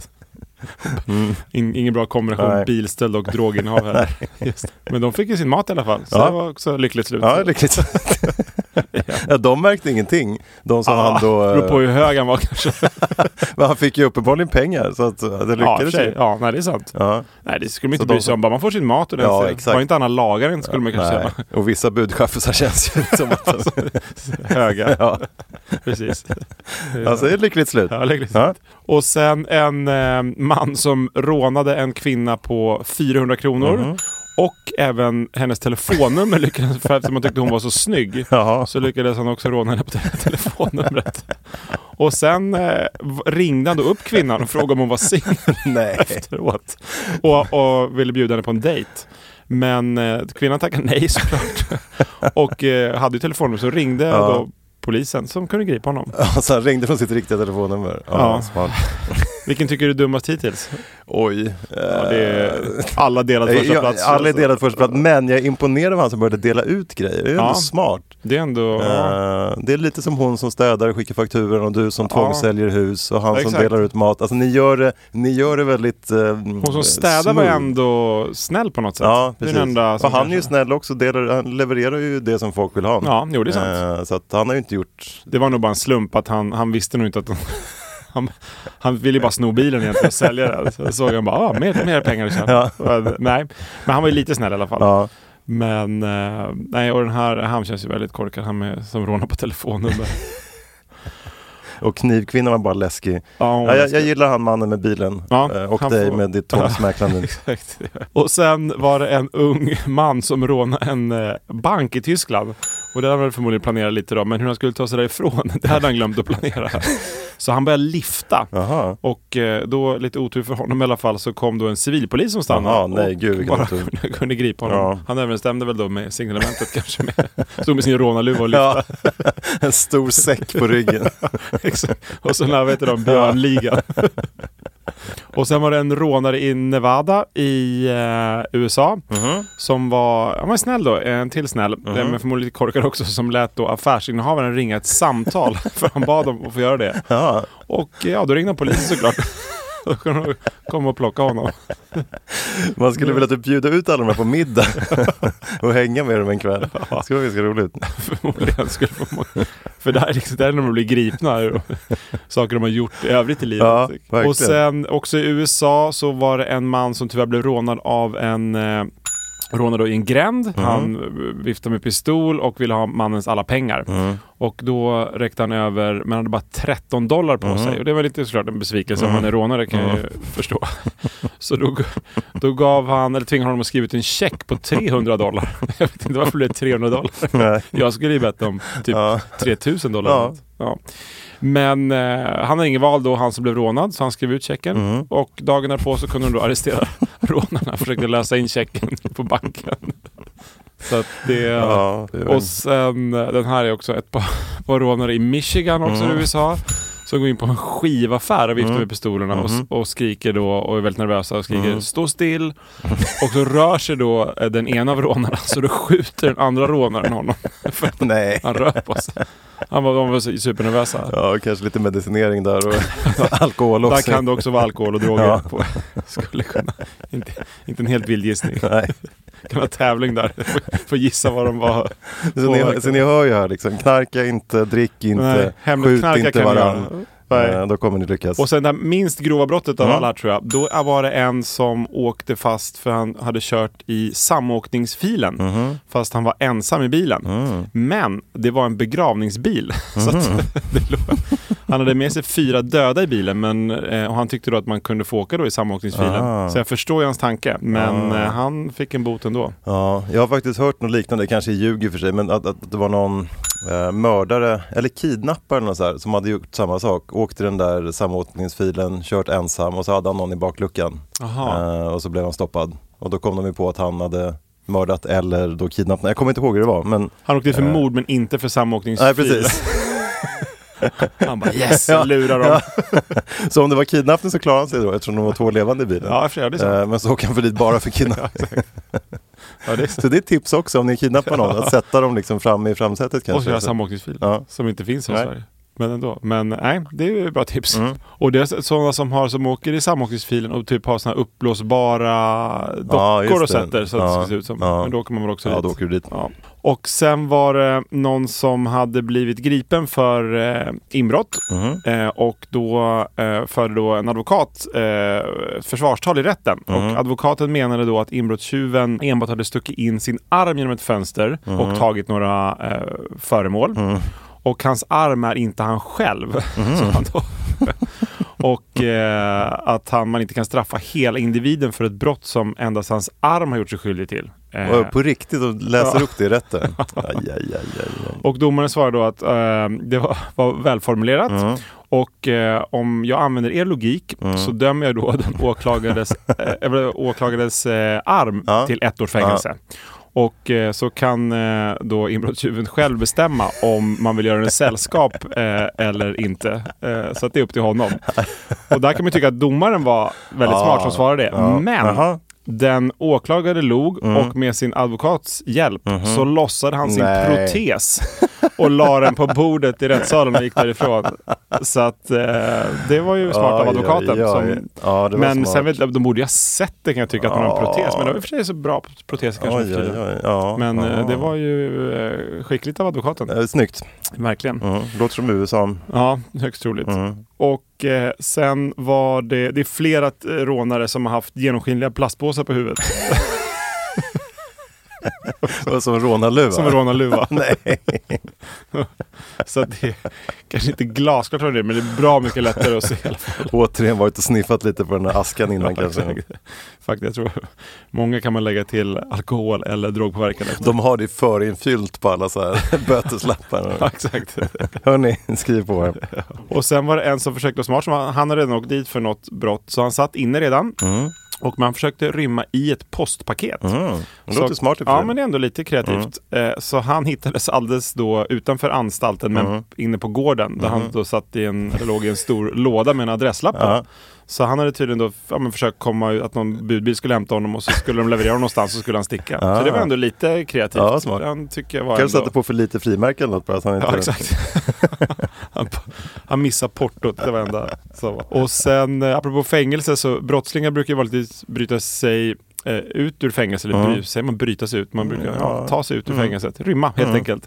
In, ingen bra kombination
Mm. Nej.
bilstöld och droginnehav här. Just. Men de fick ju sin mat i alla fall, så
Ja.
det var också lyckligt slut.
Ja, lyckligt. ja, de märkte ingenting. De som
Ja,
han då... eh,
Ah, Beror på hur hög han var kanske.
Men han fick ju uppenbarligen pengar så att eh, det
Ja, i och
lyckades
för sig.
ju.
ja, nej, det är sant.
Ja.
Nej, det skulle man inte
Så de
bry sig
som-
om. Bara man får sin mat och den
Ja,
ser-
exakt.
Var inte Anna lagaren skulle man kanske
Nej.
säga.
Och vissa budchaffisar känns ju som att...
Höga,
ja.
precis.
Alltså det är ett lyckligt slut.
Ja, lägg lite
Ja.
slut. Och sen en eh, man som rånade en kvinna på 400 kronor.
Mhm.
Och även hennes telefonnummer lyckades, för eftersom man tyckte hon var så snygg,
Jaha.
så lyckades han också råna henne på te- telefonnumret. Och sen eh, v- ringde han då upp kvinnan och frågade om hon var singel
Nej.
efteråt. Och, och ville bjuda henne på en dejt. Men eh, kvinnan tackade nej såklart. Och eh, hade ju telefonnumret så ringde
Ja.
då polisen som kunde gripa honom.
Alltså han ringde från sitt riktiga telefonnummer. Ja,
Ja.
smart.
Vilken tycker du är dummast hittills?
Oj.
Ja, det är alla delad
Eh,
första
jag-
plats. alltså.
Alla är delad första plats, men jag är imponerad av han som började dela ut grejer. Det är ändå
Ja.
smart.
Det är ändå... ja.
Eh, Det är lite som hon som städar och skickar fakturan och du som
Ja.
tvångssäljer hus och han som
Exakt.
delar ut mat. Alltså ni gör det, ni gör det väldigt eh,
Hon som städar var
smooth.
ändå snäll på något sätt.
Ja,
det är
precis.
den enda som
och han är ju
kanske-
snäll också, delar, han levererar ju det som folk vill ha.
Ja, jo, det är sant.
Eh, så att han har ju inte gjort...
Det var nog bara en slump att han, han visste nog inte att... Han, han ville ju bara sno bilen egentligen och sälja den. Så såg han bara, ah, mer, mer pengar liksom.
Ja.
Nej, men han var ju lite snäll i alla fall.
Ja,
Men, eh, nej, och den här, han känns ju väldigt korkad. Han med, som rånar på telefonnummer.
och knivkvinnan var bara läskig.
Ja, hon
Ja, jag,
läskig.
jag gillar han mannen med bilen
Ja,
eh, och
han
dig
får-
med ditt tvångssmäklande.
Exakt. Och sen var det en ung man som rånade en eh, bank i Tyskland. Och det hade han väl förmodligen planerat lite då, men hur han skulle ta sig därifrån, det hade han glömt att planera. Så han började lifta.
Jaha.
Och eh, då, lite otur för honom i alla fall, så kom då en civilpolis som stannade.
Jaha, nej,
och
gud, vilken
bara
otur.
kunde, kunde gripa honom.
Ja.
Han överensstämde väl då med signalementet kanske. Med, stod med sin rånarluva och lyfte.
Ja, en stor säck på ryggen.
Exakt. och så när, vet du, de Björnligan. och sen var det en rånare i Nevada i eh, USA som var, han var snäll då, en till snäll, eh, men förmodligen lite korkad också, som lät då affärsinnehavaren ringa ett samtal för han bad om att få göra det.
Ja.
Och eh, ja, då ringde polisen såklart. Då kom de- kom och plocka honom.
Man skulle vilja typ bjuda ut alla de här på middag och hänga med dem en kväll. Det skulle vara ganska roligt.
Förmodligen skulle få må- För där är liksom, där är när de blir gripna. och Saker de har gjort i övrigt i livet.
Ja, verkligen.
och sen också i USA så var det en man som tyvärr blev rånad av en eh, rånad då i en gränd.
Mm.
Han eh, viftade med pistol och ville ha mannens alla pengar.
Mm.
Och då räckte han över, men han hade bara 13 dollar
Mm.
på sig. Och det var lite såklart en besvikelse om man är rånare kan jag ju förstå. Så då, då gav han, eller tvingade honom att skriva ut en check på 300 dollar. Jag vet inte varför det blev 300 dollar.
Nej.
Jag skulle ju bett om typ
Mm. Ja.
3000 dollar.
Ja.
Ja. Men eh, han hade ingen val då, han som blev rånad, så han skrev ut checken.
Mm.
Och dagen därpå så kunde de då arrestera rånarna och försökte lösa in checken på banken. Så att det...
Ja, det var-
Och sen, eh, den här är också ett par, par rånare i Michigan också
Mm.
i USA. Som går in på en skivaffär och viftar med pistolerna och,
Mm-hmm.
s- och skriker då och är väldigt nervösa och
Mm.
skriker “Stå still!” Och så rör sig då eh, den ena av rånarna så då skjuter den andra rånaren honom. För att
Nej.
han rör på sig. Han var, de var så supernervösa.
Ja, kanske lite medicinering där och alkohol också.
Där kan det också vara alkohol och droger.
Ja.
På. Skulle kunna, inte, inte en helt vild gissning.
Nej.
Det kan vara tävling där. Få gissa vad de var.
Så ni,
påverkade.
så ni hör ju här liksom, knarka inte, drick inte,
Nej, hemligt
skjut
knarka
inte
kan ni
varandra.
göra. Nej.
Eh, då kommer ni lyckas.
Och sen det här minst grova brottet av
Mm.
alla tror jag, då var det en som åkte fast för han hade kört i samåkningsfilen.
Mhm.
Fast han var ensam i bilen.
Mm.
Men det var en begravningsbil. Så att, det låg, han hade med sig fyra döda i bilen men, eh, och han tyckte då att man kunde få åka då i samåkningsfilen.
Ah.
Så jag förstår ju hans tanke, men eh, han fick en bot ändå.
Ja, jag har faktiskt hört något liknande, kanske i ljug i och för sig, men att, att det var någon eh, mördare eller kidnappare eller något så här, som hade gjort samma sak. Åkt till den där samåkningsfilen, kört ensam och så hade han någon i bakluckan.
Aha.
Eh, och så blev han stoppad. Och då kom de ju på att han hade mördat eller då kidnappat. Jag kommer inte ihåg hur det var, men
Han åkte dit för
Eh.
mord men inte för samåkningsfil.
nej precis.
Han bara yes,
Ja.
lurar dem.
Ja. så om det var kidnappning så klarade han sig då eftersom de var två levande i bilen.
Ja, i och för sig, ja, det är sant.
Eh, men så åker han för dit bara för kidnappning.
Ja, det är sant.
så det är ett tips också om ni kidnappar någon, att sätta dem liksom fram i framsätet
Och så
kanske.
göra samåkningsfil
Ja.
som inte finns i
Nej. Mm.
Sverige. Men ändå. Men nej, det är ju bra tips. Och det är sådana som, har, som åker i samåkningsfilen och typ har sådana uppblåsbara
Ja,
dockor
just
och
det.
sätter så att det
Ja,
ska se ut som.
ja.
Men då åker man väl också
ja,
dit.
då åker du dit.
Ja. Och sen var det någon som hade blivit gripen för eh, inbrott
Mhm.
eh, och då eh, förde då en advokat eh, försvarstal i rätten.
Mhm.
Och advokaten menade då att inbrottstjuven enbart hade stuckit in sin arm genom ett fönster
Mhm.
och tagit några eh, föremål. Och hans arm är inte han själv.
Mhm.
sa han då. och eh, att han, man inte kan straffa hela individen för ett brott som endast hans arm har gjort sig skyldig till. Eh,
Och på riktigt och läser
Ja.
upp det i rätten. Aj, aj, aj, aj, aj.
Och domaren svarade då att eh, det var, var välformulerat. Och eh, om jag använder er logik så dömer jag då den åklagares, eh, eller åklagarens eh, arm
Ja.
till ett års fängelse. Och eh, så kan eh, då inbrottstjuven själv bestämma om man vill göra en sällskap eh, eller inte. Eh, så att det är upp till honom. Och där kan man tycka att domaren var väldigt
Ja.
smart som svarade det.
Ja.
Men
Jaha. Mm.
den åklagare log och med sin advokats hjälp
Mhm.
så lossade han sin
Nej.
protes och la den på bordet i rättssalen och gick därifrån. Så att eh, det var ju smart av
Aj,
advokaten.
aj, aj.
Som,
Ja, det var
men
smart.
sen vet jag, de borde ju ha sett det kan jag tycka att man har en
Ja.
protes. Men det var i och för sig så bra proteser kanske nu
Oj,
för
oj,
tiden.
oj. Ja,
Men
ja.
eh, det var ju eh, skickligt av advokaten.
Eh, Snyggt.
Verkligen.
Mm. Låter som USA.
Ja, högst troligt.
Mm.
Och eh, sen var det, det är flera eh, rånare som har haft genomskinliga plastpåsar på huvudet.
Och Som en rånarluva.
Som en rånarluva.
Nej.
Så att det är kanske inte glasklart vad det är, men det är bra mycket lättare att se i alla fall.
Återigen varit och sniffat lite på den här askan innan
Ja,
kanske.
exakt. Faktiskt, jag tror många kan man lägga till alkohol eller drogpåverkan. efter.
De har det förinfyllt på alla så här
Ja,
böteslappar.
Exakt.
Hörni, skriv på här.
Och sen var det en som försökte vara smart, som han han hade redan åkt dit för något brott, så han satt inne redan. Och man försökte rymma i ett postpaket.
Mm. Det låter
Så-
smart i och för
Ja,
sig. Mm.
men det är ändå lite kreativt. Eh, Så han hittades alldeles då utanför anstalten, men
Mm.
inne på gården, där han då satt i en, eller låg i en stor låda med en adresslapp på.
Ja.
Så han hade tydligen då ja, men försökt komma, ut- att någon budbil skulle hämta honom och så skulle de leverera honom någonstans och så skulle han sticka. Så det var ändå lite kreativt.
Ja, smart.
Han tycker jag var
Kanske
ändå...
satte på för lite frimärken eller något bara så han inte...
Ja, exakt. han, han missar portot, det var enda som var. Och sen, eh, apropå fängelse, så brottslingar brukar ju vanligtvis bryta sig eh, ut ur fängelse, eller bry, säger man bryta sig ut? Man brukar ja, ta sig ut ur fängelset, rymma helt enkelt.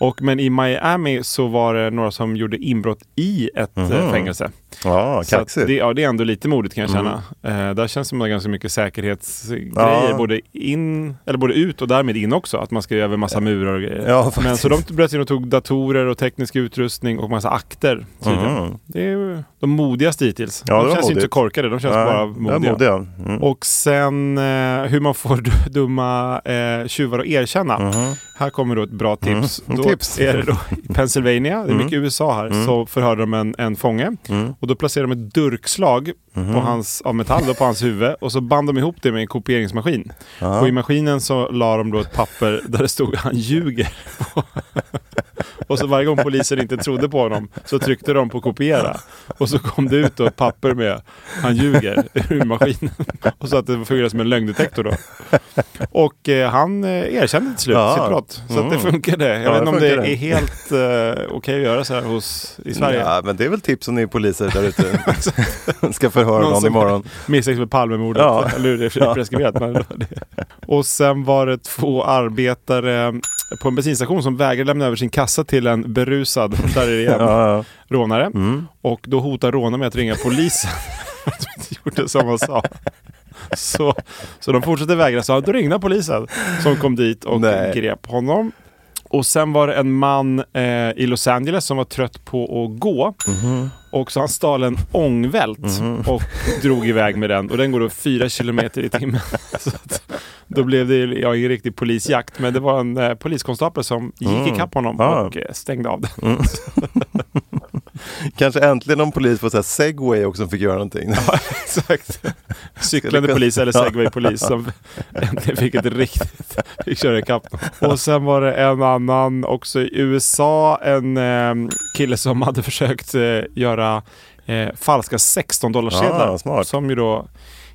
Och, men i Miami så var det några som gjorde inbrott i ett eh, fängelse.
Ja,
Så att
kaxigt. Mm.
det, ja, det är ändå lite modigt kan jag känna. Eh, där känns det som att det är ganska mycket säkerhetsgrejer,
Ja.
både, in, eller både ut och därmed in också. Att man ska ju över massa murar och grejer.
Ja, faktiskt.
Men så de bröt in och tog datorer och teknisk utrustning och massa akter. tydligen. Det är ju de modigaste hittills.
Mm. Ja, det
de
var
känns ju inte
modigt.
så korkade, de känns
Ja,
bara
ja,
modiga.
modiga. Mm.
Och sen eh, hur man får d- dumma eh, tjuvar att erkänna. Här kommer då ett bra tips.
Mm.
Då
Mm-hmm. Tips. Mm.
är det då i Pennsylvania, det är mycket USA här, så förhörde de en, en fånge. Och då placerade de ett durkslag
Mm-hmm.
på hans, av metall då, på hans huvud och så band de ihop det med en kopieringsmaskin. Och i maskinen så la de då ett papper där det stod han ljuger. Och så varje gång polisen inte trodde på honom så tryckte de på kopiera. Och så kom det ut då ett papper med han ljuger ur maskinen. Och så att det fungerade som en lögndetektor då. Och eh, han eh, erkände till slut
Ja.
sitt brott. Så att det
Mm.
funkade. Jag vet
Ja, det
inte om det
funkade.
är helt eh, okej att göra så här hos, i Sverige.
Ja, men det är väl tips om ni är poliser där ute. ska förhör någon,
som
imorgon.
Misstänks för Palmemordet,
Ja.
eller hur? Det är preskriberat. men- Och sen var det två arbetare på en bensinstation som vägrade lämna över sin kassa till en berusad, där är det igen,
Ja, ja.
rånare.
Mm.
Och då hotar rånaren med att ringa polisen. för att de inte gjorde som han sa. Så, så de fortsatte vägra, så då ringde han polisen som kom dit och
Nej.
grep honom. Och sen var det en man eh, i Los Angeles som var trött på att gå.
Mhm.
Och så han stal en ångvält och drog iväg med den. Och den går då fyra kilometer i timmen. Så att, då blev det ju- ja, ingen riktig polisjakt, men det var en eh, poliskonstapel som gick
Mm.
ikapp honom
Ja.
och eh, stängde av den.
Kanske äntligen någon polis på så här segway också som fick göra någonting.
Exakt. Cyklande polis eller segwaypolis som äntligen fick ett riktigt... Fick köra ikapp. Och sen var det en annan också i USA, en eh, kille som hade försökt eh, göra eh, falska 16 dollarsedlar
Ah, smart.
som ju då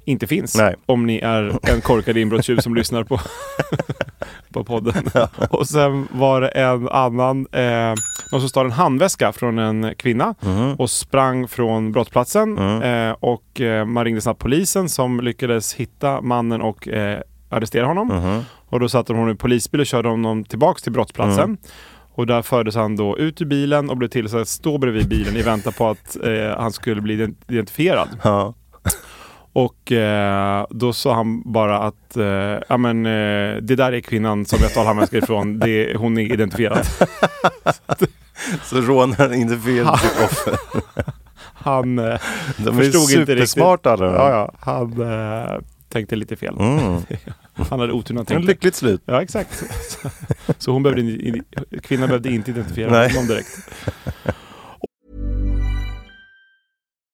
inte finns
Nej.
om ni är en korkad inbrottstjuv som lyssnar på, på podden. Och sen var det en annan, eh, någon som stal en handväska från en kvinna och sprang från brottsplatsen. Eh, och eh, man ringde snabbt polisen som lyckades hitta mannen och eh, arrestera honom. Och då satte de honom i polisbil och körde honom tillbaks till brottsplatsen. Och där fördes han då ut ur bilen och blev tillsagd att stå bredvid bilen i väntan på att eh, han skulle bli ident- identifierad.
Ja.
Och eh, då sa han bara att eh, ja, men, eh, det där är kvinnan som jag stal handväskan ifrån. Det, hon är identifierad.
Så rånaren identifierade sitt offer.
Han eh,
De är
förstod inte riktigt.
supersmarta alla de här.
Ja, ja, han eh, tänkte lite fel.
Mm.
Han hade otur när han
En
tänkte.
lyckligt slut.
Ja, exakt. Så, så hon behövde, in- in- kvinnan behövde inte identifiera
Nej.
honom direkt.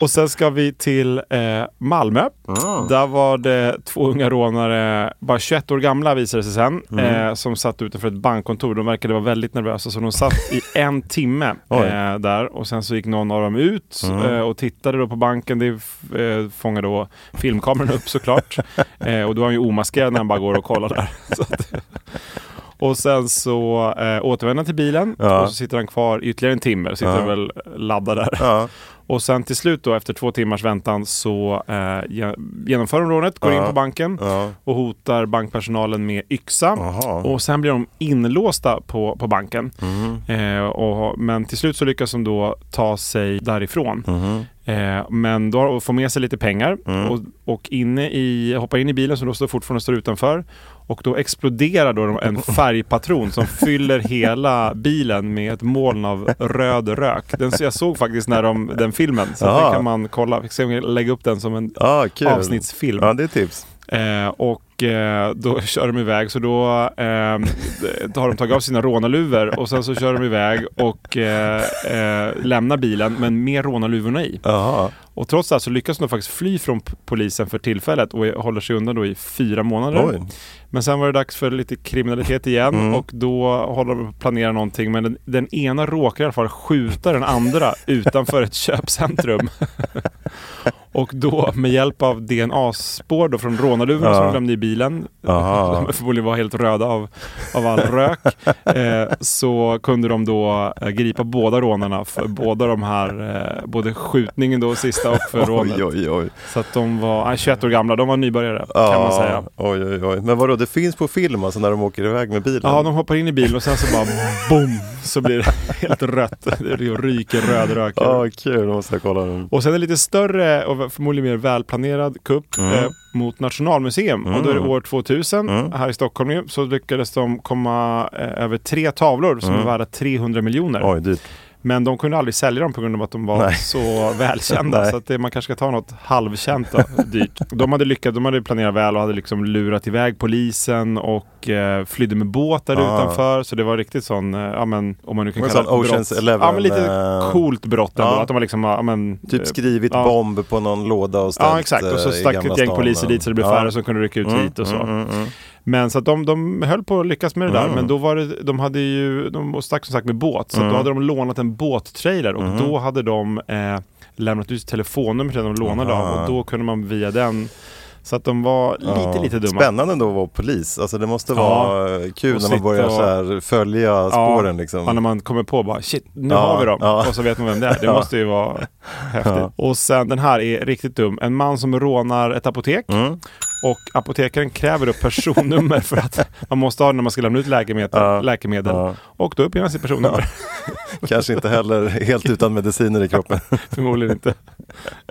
Och sen ska vi till eh, Malmö. Där var det två unga rånare, bara 21 år gamla visade det sig sen, eh, som satt utanför ett bankkontor. De verkade vara väldigt nervösa så de satt i en timme
Oj.
eh, där och sen så gick någon av dem ut eh, och tittade då på banken. Det f- eh, fångade då filmkameran upp såklart. eh, och då är han ju omaskerad när han bara går och kollar där. Så att, och sen så eh, återvänder han till bilen
Ja.
och så sitter han kvar ytterligare en timme. Sitter
Ja.
väl laddad där.
Ja.
Och sen till slut då efter två timmars väntan så eh, ge- genomför de rånet, går in på banken
Ja.
och hotar bankpersonalen med yxa.
Jaha.
Och sen blir de inlåsta på, på banken.
Mhm.
Eh, och, men till slut så lyckas de då ta sig därifrån.
Mhm.
Eh, men då har- och får med sig lite pengar
Mm.
och, och inne i, hoppar in i bilen som då står fortfarande står utanför. Och då exploderar då de-
Mm.
en färgpatron som fyller hela bilen med ett moln av röd rök. Den, så jag såg faktiskt när de, den filmen, så
Ja.
den kan man kolla. Vi ska se om jag kan lägga upp den som en
Ja, kul.
avsnittsfilm.
Ja, det är tips.
Eh, och eh, då kör de iväg, så då, eh, då har de tagit av sina rånarluvor och sen så kör de iväg och eh, eh, lämnar bilen men med rånarluvorna i.
Jaha.
Och trots det här så lyckas de faktiskt fly från p- polisen för tillfället och håller sig undan då i fyra månader.
Oj.
Men sen var det dags för lite kriminalitet igen
Mm.
och då håller de på att planera någonting men den, den ena råkar i alla fall skjuta den andra utanför ett köpcentrum. Och då med hjälp av DNA-spår då från rånarduvorna
Ja.
som de glömde i bilen,
Aha.
de förmodligen var helt röda av, av all rök, eh, så kunde de då eh, gripa båda rånarna för båda de här, eh, både skjutningen då sista och för rånet.
Oj, oj, oj.
Så att de var nej, 21 år gamla, de var nybörjare kan man
Ja,
säga.
Oj, oj, oj. Men vadå, det finns på film alltså när de åker iväg med bilen?
Ja, de hoppar in i bilen och sen så bara boom, så blir det helt rött. Det ryker röd rök. ur.
Ja, kul. Då måste jag kolla den.
Och sen en lite större och förmodligen mer välplanerad kupp
Mm.
eh, mot Nationalmuseum. Och då är det år 2000 här i Stockholm ju, så lyckades de komma eh, över tre tavlor som är värda 300 miljoner.
Mm. Oj, dyrt.
Men de kunde aldrig sälja dem på grund av att de var
Nej.
så välkända.
Nej.
så att det, man kanske ska ta något halvkänt då, dyrt. De hade lyckats, de hade planerat väl och hade liksom lurat iväg polisen och eh, flydde med båt där
Ah.
utanför. Så det var riktigt sån, eh, ja men om man nu kan
Det var
kalla
sån
det
Ocean's
brott.
Eleven,
Ja men lite
eh,
coolt brott ändå.
ja.
Att de har liksom, ja men. eh,
Typ skrivit
ja.
bomb på någon låda och ställt
Ja exakt och så
eh, i
stack
Gamla
ett gäng
stan.
poliser dit så det blev
Ja. Mm,
färre som kunde rycka ut hit och så. Men så att de, de höll på att lyckas med det
Mm.
där, men då var det, de hade ju, de stack som sagt med båt, så
Mm.
att då hade de lånat en båttrailer och då hade de eh, lämnat ut telefonnumret de lånade av och då kunde man via den, så att de var lite,
Ja.
lite dumma.
Spännande ändå att vara polis. Alltså det måste
Ja.
vara eh, kul
Och
när man
sitta
börjar
och-
så här följa spåren liksom.
Ja, när man kommer på bara shit, nu
Ja,
har vi dem.
ja.
Och så vet man vem det är. Det
Ja.
måste ju vara häftigt. Och sen den här är riktigt dum. En man som rånar ett apotek.
Mm.
Och apotekaren kräver då personnummer för att man måste ha det när man ska lämna ut läkemedel. läkemedel.
Ja.
Och då uppger man sitt personnummer.
Kanske inte heller helt utan mediciner i kroppen.
Förmodligen inte.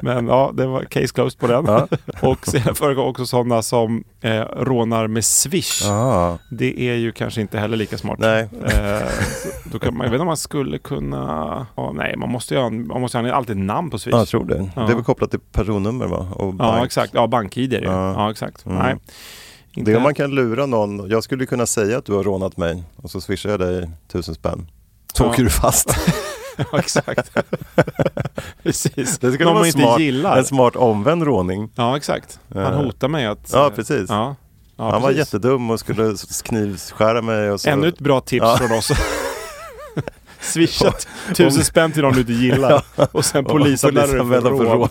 Men ja, det var case closed på den. och sen förekom också sådana som eh, rånar med swish.
ah.
Det är ju kanske inte heller lika smart.
Nej.
Eh, då kan man, jag vet inte om man skulle kunna... ja, nej, man måste ju ha, en- man måste ha en- alltid ett namn på Swish.
Ja, jag tror det.
Ja.
Det är väl kopplat till personnummer va? Och
ja,
bank.
exakt. Ja, bank-id är det ju.
Ja.
Ja, exakt.
Mm.
Nej.
Det är
Inte,
om man kan lura någon. Jag skulle kunna säga att du har rånat mig och så swishar jag dig tusen spänn. Så
Ja.
åker du fast.
ja, exakt. precis.
Det skulle
Någon
vara
man
smart,
inte gillar.
en smart omvänd råning.
Ja, exakt. Han
Eh.
hotar mig att...
Ja, precis.
Ja. Ja,
Han var
precis.
jättedum och skulle s- knivskära mig. Och så.
Ännu ett bra tips
Ja.
från oss. Swisha tusen spänn till någon du inte gillar och sen
Och
polisanmäler dig för
polisanmäla för
rån.
rån.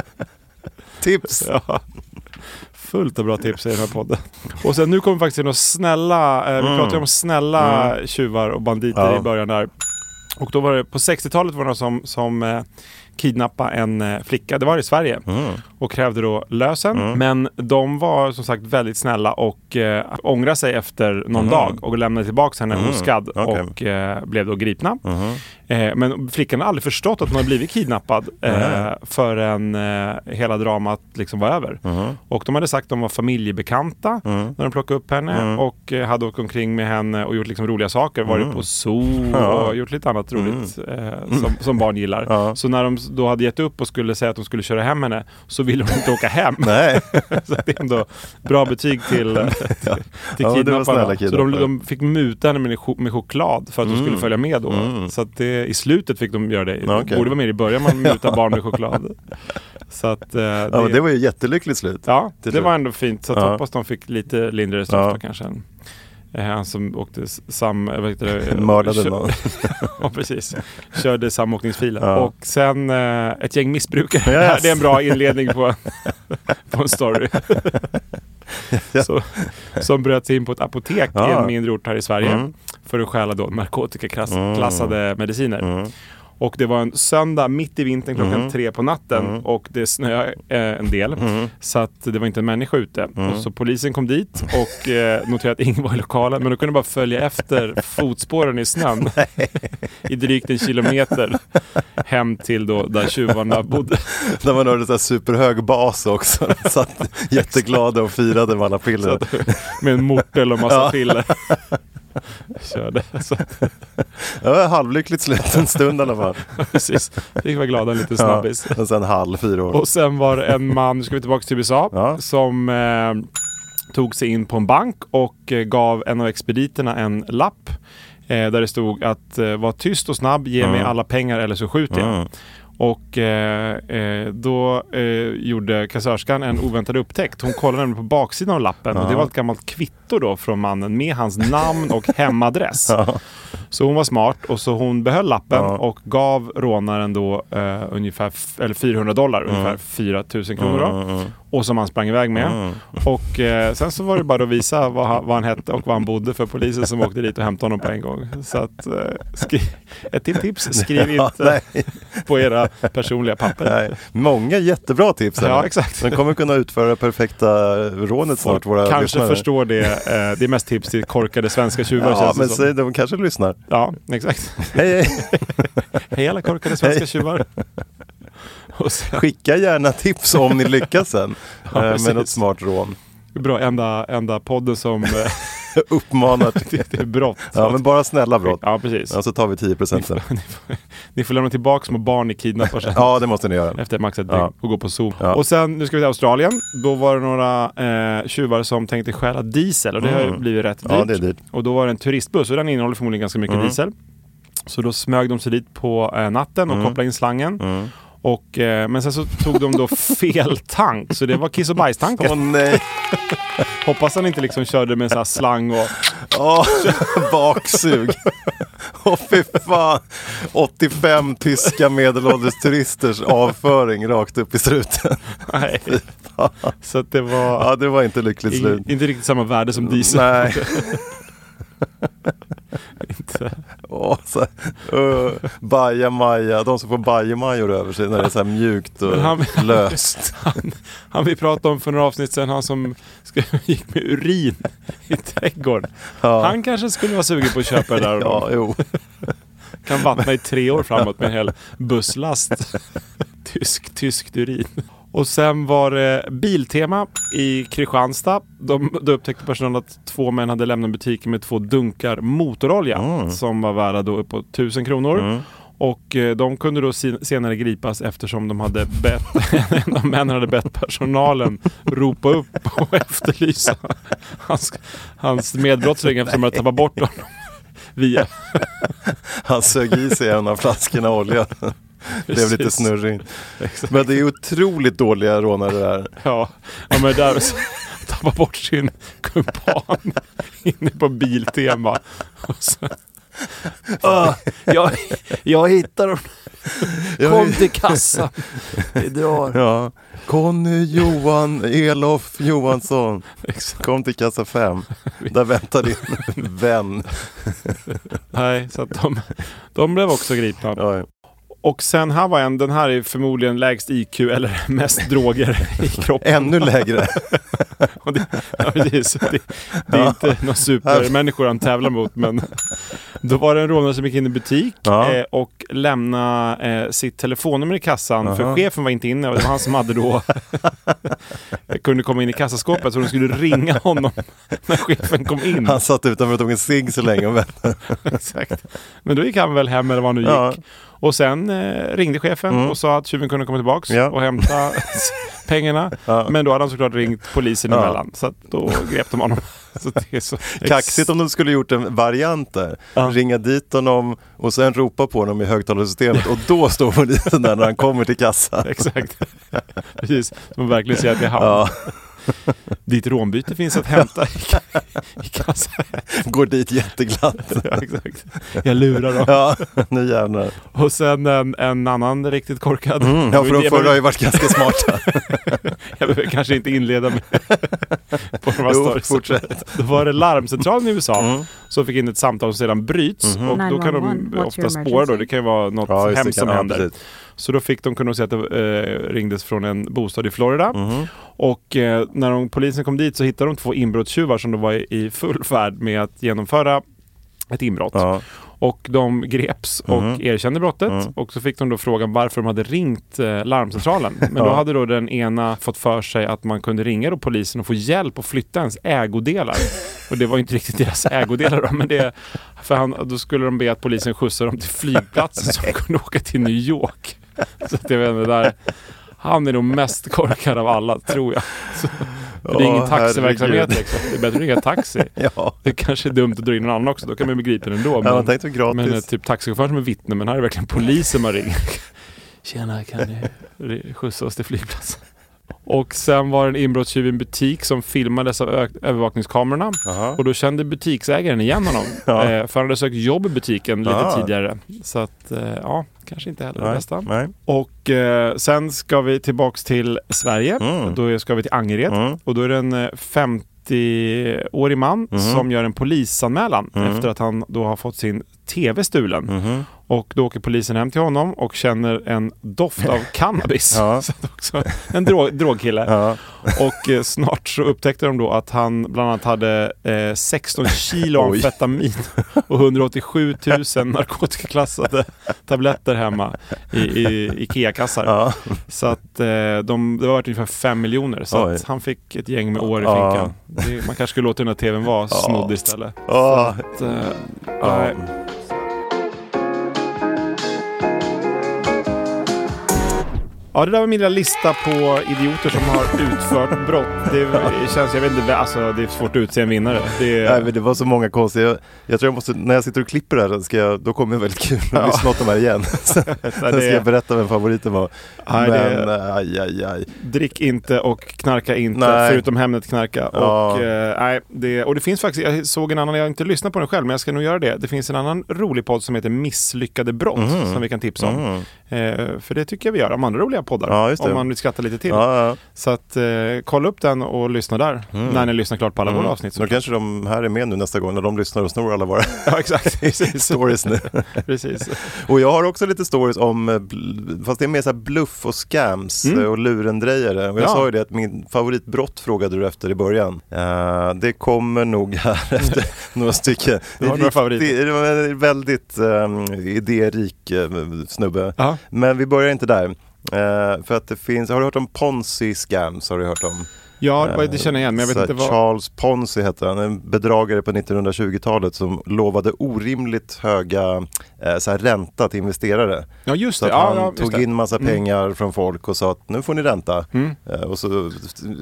Tips!
Ja. Fullt av bra tips i den här podden. Och sen nu kommer vi faktiskt in och snälla, eh, vi pratade ju om snälla tjuvar och banditer
Mm. Ja.
i början där. Och då var det, på 60-talet var det någon som, som eh, kidnappade en eh, flicka, det var i Sverige,
Mm.
och krävde då lösen. Men de var som sagt väldigt snälla och eh, ångrade sig efter någon dag och lämnade tillbaka henne oskadd
Mm. Okej.
och eh, blev då gripna. Eh, men flickan har aldrig förstått att hon har blivit kidnappad eh, förrän eh, hela dramat liksom var över. Och de hade sagt att de var familjebekanta när de plockade upp henne och eh, hade åkt omkring med henne och gjort liksom roliga saker. Varit på zoo och gjort lite annat roligt eh, som, som barn gillar. Så när de då hade gett upp och skulle säga att de skulle köra hem henne så ville hon inte åka hem.
Nej,
Så det är ändå bra betyg till, till
Ja, men det var
kidnapparna.
snälla
Så de,
kidnappare.
de fick muta henne med, cho- med choklad för att de skulle följa med då. Så att det, i slutet fick de göra det.
Mm. Ja,
Det
okej.
borde vara med i början man mutar barn med choklad. Så att, eh, det,
ja, men det var ju jättelyckligt slut.
ja,
till
det var
slut.
ändå fint. Så att
Ja.
hoppas de fick lite lindrigare straff
Ja.
då kanske. än, eh, Han som åkte s- sam... Vad heter det?
Mördade
Kö-
någon.
ja, precis. Körde samåkningsfilen.
Ja.
Och sen eh, ett gäng missbrukare. Det här-
Yes.
Det är en bra inledning på, på en story. Så, som bröt sig in på ett apotek i en
Ja. Mm.
mindre ort här i Sverige för att stjäla då narkotikaklassade mediciner.
Mm.
Och det var en söndag mitt i vintern klockan tre på natten
Mm.
och det snöade eh, en del. Så att det var inte en människa ute.
Mm.
Och så polisen kom dit och eh, noterade att ingen var i lokalen. Men de kunde bara följa efter fotspåren i snön i drygt en kilometer hem till då där tjuvarna bodde.
När man hörde så här superhög bas också. Satt jätteglada och firade med alla piller.
Med en mortel och massa piller. Körde. Så,
Det var halvlyckligt slut en stund i alla fall.
precis. Fick vara glada en liten snabbis.
Ja, och sen halv, fyra år.
Och sen var det en man, nu ska vi tillbaka till USA,
Ja.
som eh, tog sig in på en bank och eh, gav en av expediterna en lapp eh, där det stod att eh, var tyst och snabb, ge mig alla pengar eller så skjuter jag. Och eh, eh, då eh, gjorde kassörskan en oväntad upptäckt. Hon kollade nämligen på baksidan av lappen och det var ett gammalt kvitto då från mannen med hans namn och hemadress. Så hon var smart och så hon behöll lappen
Ja.
och gav rånaren då eh, ungefär f- eller 400 dollar, ungefär 4 000 kronor då. Och som han sprang iväg med. Och eh, sen så var det bara att visa vad han, vad han hette och var han bodde för polisen som åkte dit och hämtade honom på en gång. Så att, eh, skri- ett till tips, skriv
Ja,
inte
nej,
på era personliga papper.
nej. Många jättebra tips. här.
Ja, exakt.
De kommer kunna utföra det perfekta rånet snart, våra
Kanske
lyssnare.
förstår det. Eh, det är mest tips till korkade svenska tjuvar
Ja,
känns det
men
som.
säg, de kanske lyssnar.
Ja, exakt.
Hej, hej.
Hej alla korkade svenska
Hej.
tjuvar. Och sen,
Skicka gärna tips om ni lyckas sen eh,
precis.
med något smart rån.
bra, enda, enda podden som eh,
Uppmanar till...
det, det är brott.
Ja, men bara snälla brott. Alltså,
ja precis.
Ja, så tar vi 10 procent sen.
Ni, får, ni får lämna tillbaka små barn ni kidnappar sen.
Ja, det måste ni göra.
Efter max ett dygn
Ja.
och gå på zoo.
Ja.
Och sen, nu ska vi till Australien. Då var det några eh, tjuvar som tänkte stjäla diesel och det har ju
Mm.
blivit rätt dyrt.
Ja, det är dyrt. Mm.
Och då var det en turistbuss och den innehåller förmodligen ganska mycket diesel. Så då smög de sig dit på eh, natten
Mm.
och kopplade in slangen. Och, eh, men sen så tog de då fel tank, så det var kiss och bajstanken.
Åh nej,
Hoppas han inte liksom körde med en sån här slang och...
Åh, baksug. Åh fy fan. 85 tyska medelålders turisters avföring rakt upp i struten.
Nej. Så att det var
Ja, det var inte lyckligt
ing-
slut.
inte riktigt samma värde som diesel.
Nej,
Inte.
Åh, så, uh, bajamaja, de som får bajamajor över sig när det är så här mjukt och
Men han-
löst.
Han, han vi pratade om för några avsnitt sedan, han som ska, gick med urin i trädgården.
Ja.
Han kanske skulle vara sugen på att köpa det där och
Ja, jo.
kan vattna i tre år framåt med en hel busslast. Tysk, tyskt urin. Och sen var det Biltema i Kristianstad. De, då upptäckte personalen att två män hade lämnat butiken med två dunkar motorolja som var värda då uppåt 1000 kronor. Och eh, de kunde då sin- senare gripas eftersom de hade bett, en av männen hade bett personalen ropa upp och efterlysa hans, hans medbrottsling eftersom de hade tappat bort honom via
Han sög i sig en av flaskorna olja. Blev lite
Precis.
snurrig. Men det är otroligt dåliga rånare det här.
Ja, ja men där så tappar bort sin kumpan inne på Biltema. Och så, Ah, jag, jag hittar dem. Kom till kassan. Vi drar.
Ja. Conny Johan Elof Johansson.
Exakt.
Kom till kassa 5. Där väntar din vän.
Nej, så att de, de blev också gripna.
Ja,
Och sen här var en, den här är förmodligen lägst IQ eller mest droger i kroppen.
ännu lägre.
Och det, ja, precis. Det, det är inte några supermänniskor han tävlar mot men då var det en rånare som gick in i butik
Ja.
eh, och lämnade eh, sitt telefonnummer i kassan för
Aha.
chefen var inte inne och det var han som hade då kunde komma in i kassaskåpet så de skulle ringa honom när chefen kom in.
Han satt utanför och tog en cigg så länge. och väntade.
Exakt. Men då gick han väl hem eller vad han nu gick.
Ja. Mm.
Och sen eh, ringde chefen och sa att tjuven kunde komma tillbaks
Ja.
och hämta pengarna.
Ja.
Men då hade han såklart ringt polisen
Ja.
emellan. Så att då grep de honom. Så det är så
Kaxigt om de skulle gjort en variant där.
Ja.
Ringa dit honom och sen ropa på honom i högtalarsystemet och då står polisen där när han kommer till kassan.
Exakt. Precis. De verkligen säger att det är han.
Ja,
Ditt rånbyte finns att hämta i, i kassan.
går dit jätteglatt.
Ja, exakt. Jag lurar dem.
Ja, nu jävlar.
Och sen en, en annan riktigt korkad.
Mm. Ja, för
Jag
de förra har ju
behöver-
varit ganska smarta.
Jag behöver kanske inte inleda med på de här
Jo,
stories. Mm.
fortsätt.
Då var det larmcentralen i USA som fick in ett samtal som sedan bryts och då kan
911,
de
what's
ofta
your
spåra
emergency?
då. Mm-hmm. Det kan ju vara något
Ja, just det,
hemskt som
kan- ja,
händer.
precis.
Så då fick de kunde de se att det eh, ringdes från en bostad i Florida. Och eh, när de, polisen kom dit så hittade de två inbrottstjuvar som då var i, i full färd med att genomföra ett inbrott.
Ja.
Och de greps och erkände brottet. Och så fick de då frågan varför de hade ringt eh, larmcentralen. Men då hade då den ena fått för sig att man kunde ringa då polisen och få hjälp att flytta ens ägodelar. Och det var ju inte riktigt deras ägodelar då, men det... För han, då skulle de be att polisen skjutsade dem till flygplatsen så de kunde åka till New York. Så att jag vet inte, där... Han är nog mest korkad av alla, tror jag. Så, för det är ingen
Åh,
taxiverksamhet
herregud.
liksom. Det är bättre att ringa taxi.
Ja.
Det kanske är dumt att dra in någon annan också, då kan man ju begripa det ändå.
man tänkte gratis.
men eh, typ taxichauffören som är vittne, men här är det verkligen polisen man ringer.
Tjena, kan
re- skjutsa oss till flygplatsen. Och sen var det en inbrottstjuv i en butik som filmades av ö- övervakningskamerorna.
Aha.
Och då kände butiksägaren igen honom.
Ja.
eh, för han hade sökt jobb i butiken lite
Ah.
tidigare. Så att, eh, ja, kanske inte heller det
Nej.
bästa.
Nej.
Och eh, sen ska vi tillbaks till Sverige.
Mm.
Då ska vi till Angered.
Mm.
Och då är det en eh, 50-årig man
Mhm.
som gör en polisanmälan
Mm.
efter att han då har fått sin TV stulen.
Mhm.
Och då åker polisen hem till honom och känner en doft av cannabis.
Ja.
Så att också en drog, drogkille.
Ja.
Och eh, snart så upptäckte de då att han bland annat hade eh, 16 kilo
Oj.
amfetamin och 187 000 narkotikaklassade tabletter hemma i, i Ikea-kassar.
Ja.
Så att eh, de, det var värt ungefär 5 miljoner. Så
Oj.
att han fick ett gäng med år i
Ja.
finkan. Det, man kanske skulle låta den här tvn vara snodd istället.
Ah.
Att, eh,
Ja.
nej. Ja, det där var min lilla lista på idioter som har utfört brott. Det känns, jag vet inte, alltså det är svårt att utse en vinnare. Det är,
Nej, men det var så många konstiga. Jag, jag tror jag måste, när jag sitter och klipper det här, så ska jag, då kommer det väldigt kul att lyssna åt de här igen. Sen
nej,
sen
det
ska jag berätta vem favoriten var.
Nej, det
men
är-
eh, aj, aj, aj.
drick inte och knarka inte,
Nej.
förutom Hemnet knarka.
Ja.
Och, eh, nej, det, och det finns faktiskt, jag såg en annan, jag har inte lyssnat på den själv, men jag ska nog göra det. Det finns en annan rolig podd som heter Misslyckade brott, som vi kan tipsa om.
Mm.
Eh, för det tycker jag vi gör om andra roliga poddar,
Ja, just det.
om man vill skratta lite till.
Ja, Mm. ja.
Så att eh, kolla upp den och lyssna där, när ni lyssnar klart på alla
Mm.
våra avsnitt.
Då kanske de här är med nu nästa gång när de lyssnar och snor alla våra
Ja, exakt. Precis.
stories nu.
Precis.
Och jag har också lite stories om, eh, bl- fast det är mer så här bluff och scams eh, och lurendrejare. Och jag
Mm. Ja.
sa ju det att min favoritbrott frågade du efter i början. Eh, det kommer nog här efter några stycken.
Du har några favoriter.
Riktigt- Det var en väldigt um, idérik eh, snubbe.
Ja.
Men vi börjar inte där. Eh, för att det finns, har du hört om ponzi scams? Har du hört om?
Ja, det var- det känner jag igen, men jag vet
Eh, Så
inte vad...
här, Charles Ponzi hette han, en bedragare på 1920-talet som lovade orimligt höga eh, så här, ränta till investerare.
Ja, just
Så
det.
att
Ja,
han
ja, just
tog
det. Mm.
in massa pengar från folk och sa att nu får ni ränta. Eh, och så,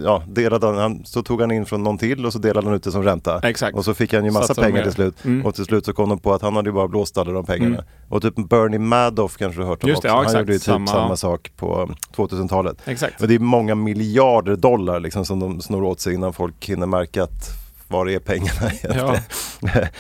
ja, delade han, han, så tog han in från någon till och så delade han ut det som ränta.
Exakt.
Och så fick han ju massa
Satsade mer.
pengar till slut.
Mm.
Och till slut så kom de på att han hade ju bara blåst alla de pengarna. Och typ Bernie Madoff kanske du har hört om
Just det,
också.
ja,
han
exakt.
gjorde ju typ
Samma,
samma,
ja.
sak på 2000-talet.
Exakt.
Och det är många miljarder dollar liksom som de snor åt sig innan folk hinner märka att var är pengarna egentligen?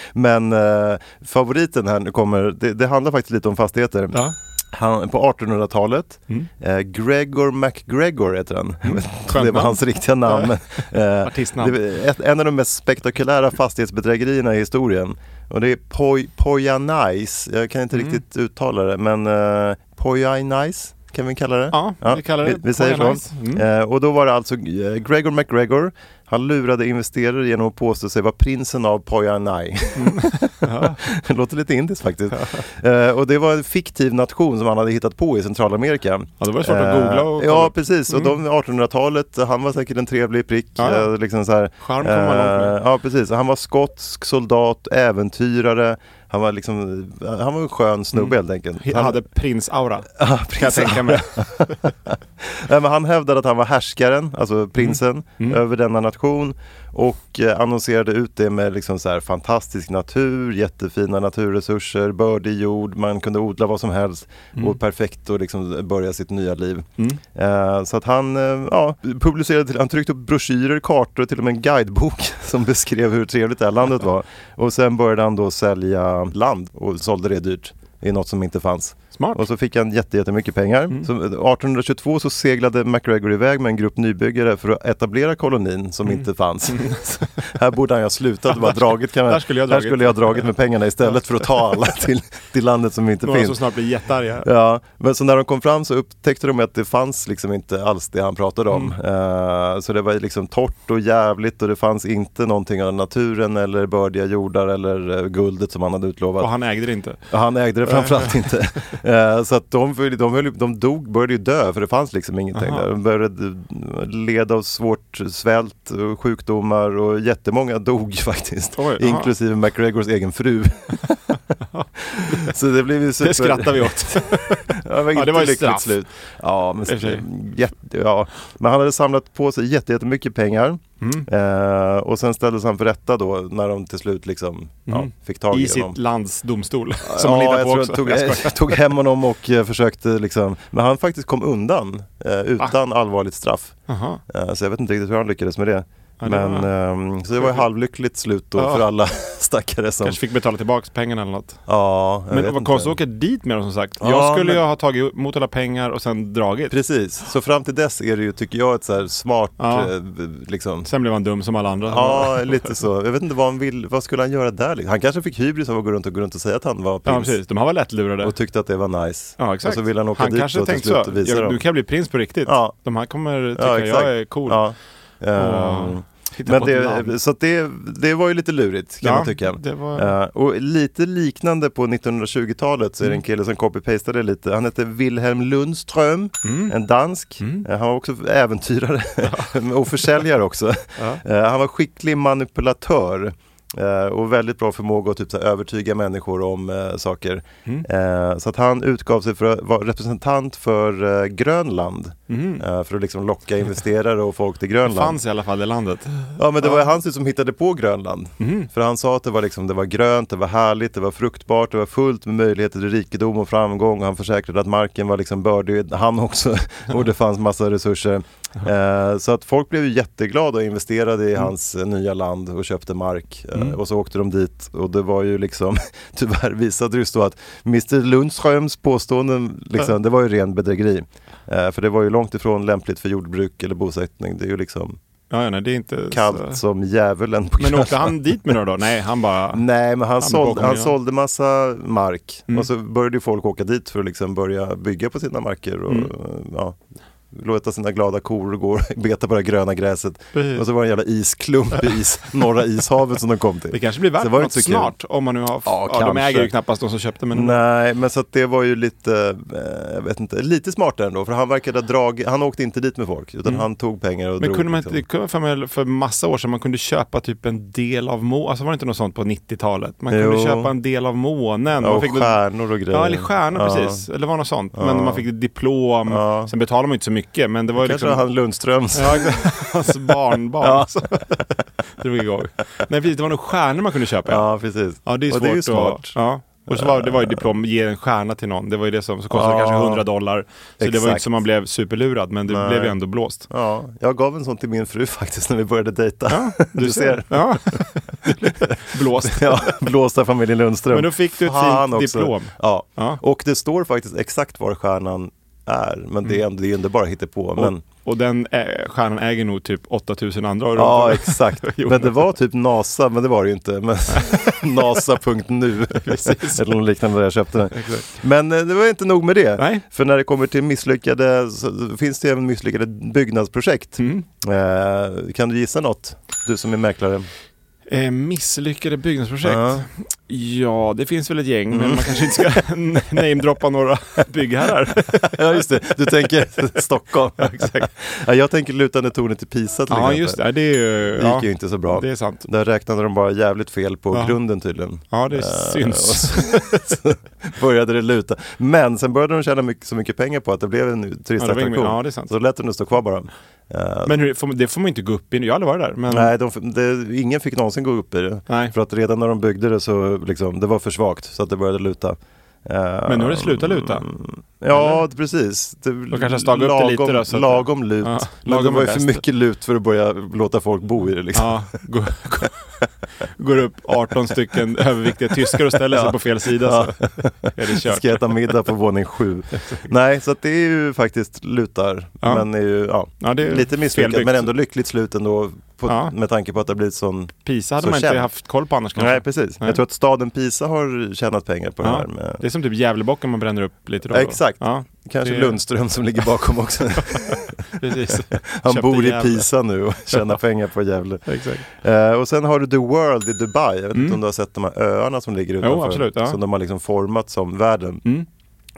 Men eh, favoriten här nu kommer, det, det handlar faktiskt lite om fastigheter.
Ja.
Han, på 1800-talet,
Mm.
eh, Gregor MacGregor heter han. Jag vet inte om det var
namn.
hans riktiga namn. men, eh,
Artistnamn.
det var ett, en av de mest spektakulära fastighetsbedrägerierna i historien. Och det är Poj, Pojanais, jag kan
Mm.
inte riktigt uttala det, men eh, Pojanais kan vi kalla det?
Ja, vi kallar det Mm.
vi, vi säger
Pojanais.
så. Eh, och då var det alltså eh, Gregor MacGregor, han lurade investerare genom att påstå sig vara prinsen av Pojanai.
Mm.
Det låter lite indiskt faktiskt. Eh, och det var en fiktiv nation som han hade hittat på i Centralamerika. Eh,
Ja, då var det svårt att googla och kolla
Ja,
upp.
precis. Och de 1800-talet, han var säkert en trevlig prick.
Ja, ja.
eh, liksom så här,
Charm kommer man långt med.
Eh, Ja, precis. Han var skotsk soldat, äventyrare. Han var, liksom, han var en skön snubbe helt enkelt.
Han
Han,
Mm. hade prins-aura. Kan jag tänka mig.
nej, men han hävdade att han var härskaren, alltså prinsen, över denna nation och eh, annonserade ut det med liksom så här fantastisk natur, jättefina naturresurser, bördig jord, man kunde odla vad som helst och perfekt och liksom börja sitt nya liv. Eh, så att han eh, ja, publicerade, till, han tryckte upp broschyrer, kartor, till och med en guidebok som beskrev hur trevligt det här landet var. Och sen började han då sälja land och sålde det dyrt i något som inte fanns.
Smart.
Och så fick han jätte, jättemycket pengar.
Mm.
Så 1822 så seglade MacGregor iväg med en grupp nybyggare för att etablera kolonin
Mm.
som inte fanns. Så här borde han ju ha slutat och bara dragit. Kan man,
där skulle jag ha
här
dragit.
skulle jag ha dragit med pengarna istället för att ta alla till, till landet som inte
Några
finns.
som snart blir jättearga.
Ja, men så när de kom fram så upptäckte de att det fanns liksom inte alls det han pratade om.
Mm.
Eh, så det var liksom torrt och jävligt och det fanns inte någonting av naturen eller bördiga jordar eller eh, guldet som han hade utlovat.
Och han ägde det inte.
Ja, Han ägde det framförallt inte. Eh, Så att de, höll- de, höll- de dog, började ju dö för det fanns liksom ingenting
Aha.
där. De började leda av svårt svält, och sjukdomar och jättemånga dog faktiskt.
Oj, aha.
inklusive McGregors egen fru. Så det blev ju super...
Det skrattar vi åt.
Ja, men
Ja, det var ju
inte lyckligt
straff.
Slut. Ja, men,
I och för sig.
jätte, ja. men han hade samlat på sig jätte- jättemycket pengar.
Mm.
Eh, och sen ställdes han för rätta då när de till slut liksom ja,
Mm.
fick tag i,
I sitt
honom.
lands domstol. Som han
ja,
hittar
jag
på
tror
också.
han
Jag
tog, tog hem honom och eh, försökte liksom, men han faktiskt kom undan
Ah.
eh, utan allvarligt straff.
Jaha.
Eh, så jag vet inte riktigt hur han lyckades med det.
Ah. Ja, det
men,
var-
ehm, så det var ju halvlyckligt slut då
Ja.
för alla stackare som...
Kanske fick betala tillbaka pengarna eller något.
Ja, jag
Men
vet
vad
inte.
konstigt att åka dit med dem som sagt. jag
Ja,
skulle
men-
ju ha tagit emot alla pengar och sen dragit.
Precis, så fram till dess är det ju, tycker jag, ett så här smart,
Ja.
eh, liksom...
Sen blev han dum som alla andra.
Ja, lite så. Jag vet inte vad han vill, vad skulle han göra där? liksom? Han kanske fick hybris av att gå runt och gå runt och säga att han var
Ja,
prins.
precis. De här var lättlurade.
och tyckte att det var nice.
Ja, exakt.
Och så ville han åka
han
dit
kanske
och till
tänkte
slut
så.
och visa
Jag,
dem.
du kan bli prins på riktigt.
Ja.
De här kommer tycka
Ja, exakt.
jag är cool.
Ja.
Och
Ehm,
hitta
men
på ett
det,
namn.
så att det, det var ju lite lurigt kan
Ja,
man tycka.
det var- Mm.
Eh, och lite liknande på 1920-talet så är det en kille som copy-pastade lite. Han hette Wilhelm Lundström,
Mm.
en dansk. Eh, han var också äventyrare och försäljare också. Eh, han var skicklig manipulatör. eh, Och väldigt bra förmåga att typ, så här, övertyga människor om eh, saker.
Mm.
Eh, så att han utgav sig för att vara representant för eh, Grönland. Eh, för att liksom locka investerare och folk till
Mm. Det
Grönland.
fanns i alla fall det landet.
Ja men det var ju han som hittade på Grönland. För han sa att det var, liksom, det var grönt, det var härligt, det var fruktbart, det var fullt med möjligheter till rikedom och framgång. Och han försäkrade att marken var liksom bördig, han också, och det fanns massa resurser. Eh, så att folk blev ju jätteglada och investerade i hans eh, nya land och köpte mark. Eh, Och så åkte de dit och det var ju liksom, tyvärr visade det sig då att Mr Lundströms påståenden, liksom, det var ju ren bedrägeri. Eh, för det var ju långt ifrån lämpligt för jordbruk eller bosättning. Det är ju liksom
Ja, ja, nej, det är inte
kallt
så.
som djävulen på
Men
kvällen.
åkte han dit med några då? Nej, han bara...
Nej, men han, sålde,
bakom
han
igen.
sålde massa mark
Mm.
och så började ju folk åka dit för att liksom börja bygga på sina marker och
Mm.
ja, låta sina glada kor gå och beta på det gröna gräset.
Precis.
Och så var det en jävla isklump i is, norra ishavet som de kom till.
Det kanske blir värt
Så det var ju
något
inte så kul.
snart om man nu har...
Ja,
de
kanske.
äger ju knappast de som köpte men...
Nej, men så att det var ju lite, eh, jag vet inte, lite smartare ändå för han verkade ha dragit, han åkte inte dit med folk utan han tog pengar och
Mm. Men
drog.
kunde man
liksom.
inte, kunde man för, mig, för massa år sedan, man kunde köpa typ en del av månen, alltså var det inte något sånt på 90-talet? Man kunde
Jo.
köpa en del av månen.
Ja,
man
och
något-
stjärnor och grejer.
Ja, eller stjärnor
Ja.
precis. Eller var något sånt. Men man fick ett diplom.
Ja.
Sen betalade man ju inte så mycket, men det var ju
Kanske
liksom...
var han Lundströms.
Ja, exakt. hans barnbarn.
Ja.
Så drog igång. Nej, precis. Det var nog stjärnor man kunde köpa.
Ja, precis.
ja det är svårt
och det är ju
att-
smart.
ja. Och så var, det var ju diplom, ge en stjärna till någon. Det var ju det som så kostade
Ja.
kanske 100 dollar. Så det var ju inte
Exakt.
som man blev superlurad, men det
Nej.
blev ju ändå blåst.
Ja, jag gav en sån till min fru faktiskt när vi började dejta. du, ser.
Ja. blåst.
Ja, blåsta familjen Lundström.
Men då fick du ett
Fan
fint
också.
diplom.
Ja.
Ja.
och det står faktiskt exakt var stjärnan är. Men det är ändå, det är ändå bara hittepå. Men,
Mm. Och, och den eh, stjärnan äger nog typ 8000 andra. runt om.
ja, exakt.
Jo.
Men det var typ NASA, men det var det ju inte. Men NASA.nu eller något liknande där jag köpte den. Men eh, det var inte nog med det.
Nej.
För när det kommer till misslyckade, så finns det ju även misslyckade byggnadsprojekt.
Mm.
Eh, kan du gissa något? Du som är mäklare.
Eh, misslyckade byggnadsprojekt?
Ja. Mm.
Ja, det finns väl ett gäng, men man kanske inte ska n- namedroppa några byggherrar.
Ja just det, du tänker Stockholm. Exakt. Ja, jag tänker lutande tornet till Pisa till
ja,
exempel.
just det. Det, är ju,
Det gick
ja,
ju inte så bra.
det är sant.
Där räknade de bara jävligt fel på
Ja.
grunden tydligen.
Ja, det
Eh, och
syns.
så, så började det luta. Men sen började de tjäna mycket, så mycket pengar på att det blev en
Ja, det var
turistattraktion.
ingen- ja, det är sant.
så lät de det stå kvar bara. Eh,
Men hur, får, man- det får man inte gå upp i. Jag har aldrig varit där. Men,
Nej, de, det, ingen fick någonsin gå upp i det.
Nej.
För att redan när de byggde det så liksom, det var för svagt så att det började luta. Eh,
men nu har det slutat luta.
Ja, precis. Det,
kanske har stagat upp det lite då, så att-
lagom lut.
Ja,
men det
lagom
var ju
är
för
bäst.
mycket lut för att börja låta folk bo i det. Liksom.
Ja, går, går- går upp 18 stycken överviktiga tyskar och ställer sig på fel sida så är det kört.
Ska jag äta middag på våning sju. Nej, så att det är ju faktiskt lutar.
Ja.
Men är ju, ja,
Ja, det är
lite misslyckat
felbyggt.
men ändå lyckligt slut ändå på,
Ja.
med tanke på att det har blivit sån...
Pisa hade
så
man inte
känt.
haft koll på annars kanske.
Nej, precis.
Nej.
Jag tror att staden Pisa har tjänat pengar på det här.
Ja,
Med,
det är som typ Gävlebocken man bränner upp lite då. och då.
Exakt.
Ja,
kanske
det-
Lundström som ligger bakom också.
precis.
Han
Köpte
bor i
Gävle.
Pisa nu och tjänar pengar på Gävle.
Exakt. Mm.
Eh, och sen har du The World i Dubai. Jag vet inte om du har sett de här öarna som ligger utanför.
absolut, ja. Mm.
Som de har liksom format som världen.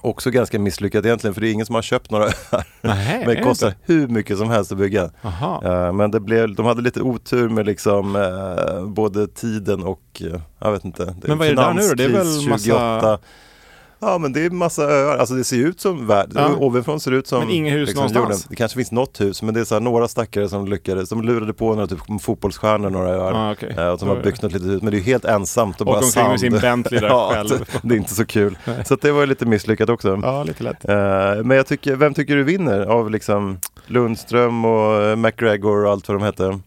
Också ganska misslyckat egentligen, för det är ingen som har köpt några öar.
Nej,
Men det kostar hur mycket som helst att bygga.
Aha.
Eh, Men det blev, de hade lite otur med liksom, eh, både tiden och, eh, jag vet inte.
Men vad är det där nu då? Det är väl
finanskris
massa-
28. Ja men det är massa öar, alltså det ser ju ut som världen,
Ja.
ovanifrån ser det ut som liksom
Men inga hus någonstans.
Det kanske finns något hus men det är så här, några stackare som lyckades, de lurade på några typ fotbollsstjärnor några öar.
Ah, okej.
Eh, och som
Då
har
är
byggt något litet hus men det är ju helt ensamt och
Åker
bara
omkring
sand.
med sin Bentley där
ja,
själv.
det- Det är inte så kul. så att det var ju lite misslyckat också.
Ja, lite lätt.
Eh, men jag tycker, vem tycker du vinner av liksom Lundström och eh, McGregor och allt vad de hette?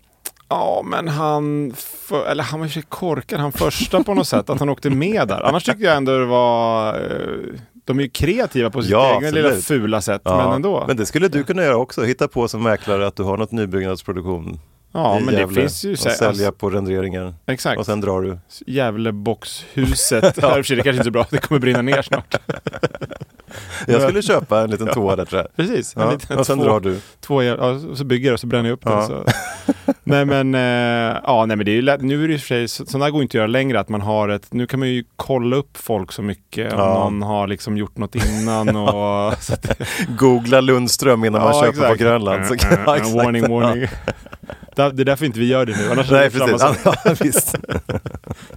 Ja, men han, för, eller han var i och för sig korkad, han första på något sätt, att han åkte med där. Annars tyckte jag ändå det var, eh, de är ju kreativa på sitt
Ja,
egna lilla
absolut.
fula sätt,
Ja,
men ändå.
Men det skulle du kunna göra också, hitta på som mäklare att du har något nybyggnadsproduktion
ja,
i
men det
Gävle
finns ju
och
så här-
sälja
alltså,
på renderingar
Exakt.
och sen drar du.
Gävleboxhuset. ja. Det kanske inte är så bra, det kommer brinna ner snart.
Jag skulle köpa en liten toa där tror jag.
Precis, en
Ja,
liten
och sen
två-
drar du.
två el, ja, och så bygger jag och så bränner jag upp det.
Ja.
Så. nej men, eh, ja nej men det är ju lätt. Nu är det i och för sig, så- sådana här går inte att göra längre, att man har ett, nu kan man ju kolla upp folk så mycket, om
Ja.
någon har liksom gjort något innan och så att det,
Googla Lundström innan man
Ja,
köper
exakt.
på Grönland. Så
Eh,
kan,
eh,
ja, exakt.
warning, warning. Det det är därför inte vi gör det nu, annars hade
Nej
vi samma
precis,
sak.
ja, visst.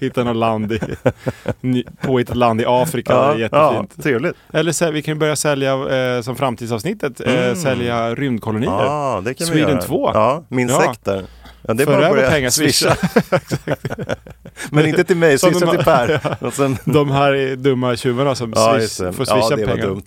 Hitta något land i, ny- påhittat land i Afrika, det
Ja,
är
ja,
jättefint.
trevligt.
Eller så, här, vi kan ju börja sälja, eh, som framtidsavsnittet, eh, sälja rymdkolonier.
Mm. Ja, det kan vi
Sweden
göra.
2.
Ja, min
Ja.
sekt där. Ja, det är
För
bara att
över
börja
pengar, swisha.
Men inte till mig,
Som de
swisha till
har-
Per. Och sen,
De här eh, dumma tjuvarna som
ja, just
swish,
det.
får
ja,
swisha
det var
pengar.
dumt.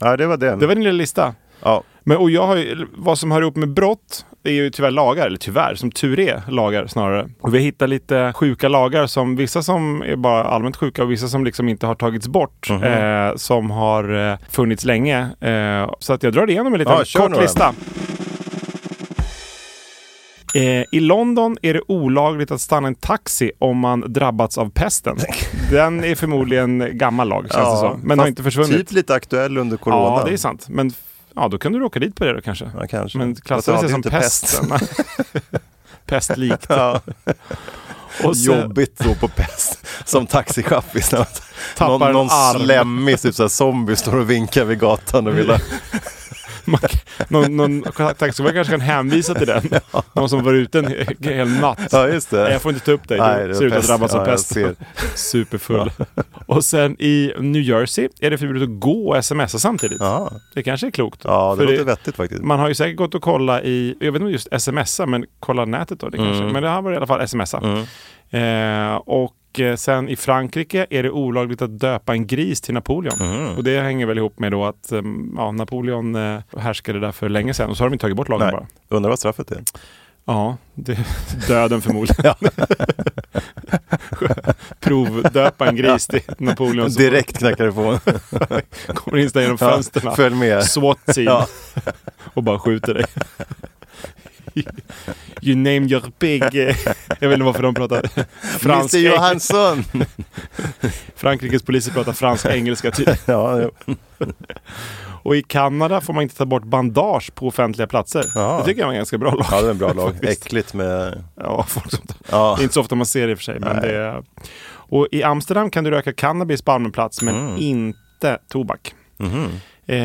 Ja, det var det.
Det var din lilla lista.
ja.
Men, och jag har ju, vad som hör ihop med brott är ju tyvärr lagar, eller tyvärr, som tur är lagar snarare. Och vi hittar lite sjuka lagar, som vissa som är bara allmänt sjuka och vissa som liksom inte har tagits bort,
Mhm.
eh, som har eh, funnits länge. Eh, så att jag drar igenom en liten
Ja, kör
kort
några.
lista. Eh, I London är det olagligt att stanna en taxi om man drabbats av pesten. Den är förmodligen gammal lag, känns det
Ja,
som. Men har
fast
inte försvunnit.
Typ lite aktuell under corona.
Ja, det är sant. Men f- ja, då kunde du åka dit på det då kanske.
Ja, kanske.
Men
Fast jag
klassades det
hade
som
inte
pesten. Pestlikt.
Ja,
Och så,
jobbigt då på pest som taxichaffis. när man-
Tappar
någon
en
någon
arm.
slemmig typ såhär zombie står och vinkar vid gatan och vill ha...
man, någon, någon taxichaufför kanske kan hänvisa till den. Någon som var ute en he- hel natt.
Ja just
Nej,
det.
jag får inte ta upp dig. Du
Nej, det är
ser ut att
pest.
drabbas av
Ja, jag
pest.
ser.
Superfull. Och sen i New Jersey är det förbjudet att gå och smsa samtidigt.
Ja,
Det kanske är klokt.
ja det
För
låter vettigt faktiskt.
Man har ju säkert gått och kollat i, jag vet inte om just smsa, men kolla nätet då. Det kanske.
Mm.
Men det här var i alla fall smsa. Eh, och eh, sen i Frankrike är det olagligt att döpa en gris till Napoleon.
Mm.
Och det hänger väl ihop med då att eh, ja, Napoleon eh, härskade där för länge sedan och så har de inte tagit bort lagen
Nej.
bara.
Undrar vad straffet är.
Ja, det, döden förmodligen. Provdöpa en gris till Napoleon. så
Direkt knackar det på.
kommer in där genom fönstren.
Ja, följ med.
SWAT-team
Ja.
och bara skjuter dig. You name your pig. Jag vet inte varför de pratar fransk.
Mr Johansson!
Frankrikes poliser pratar franska engelska typ.
ja, jo.
Och i Kanada får man inte ta bort bandage på offentliga platser.
Ja.
Det tycker jag var en ganska bra lag.
ja, det är en bra lag.
Faktiskt.
Äckligt med...
Ja, folk som tar.
Ja.
Det är inte så ofta man ser det i och för sig. Men det är... Och i Amsterdam kan du röka cannabis på allmän plats, men
Mm.
inte tobak.
Mhm.
Eh,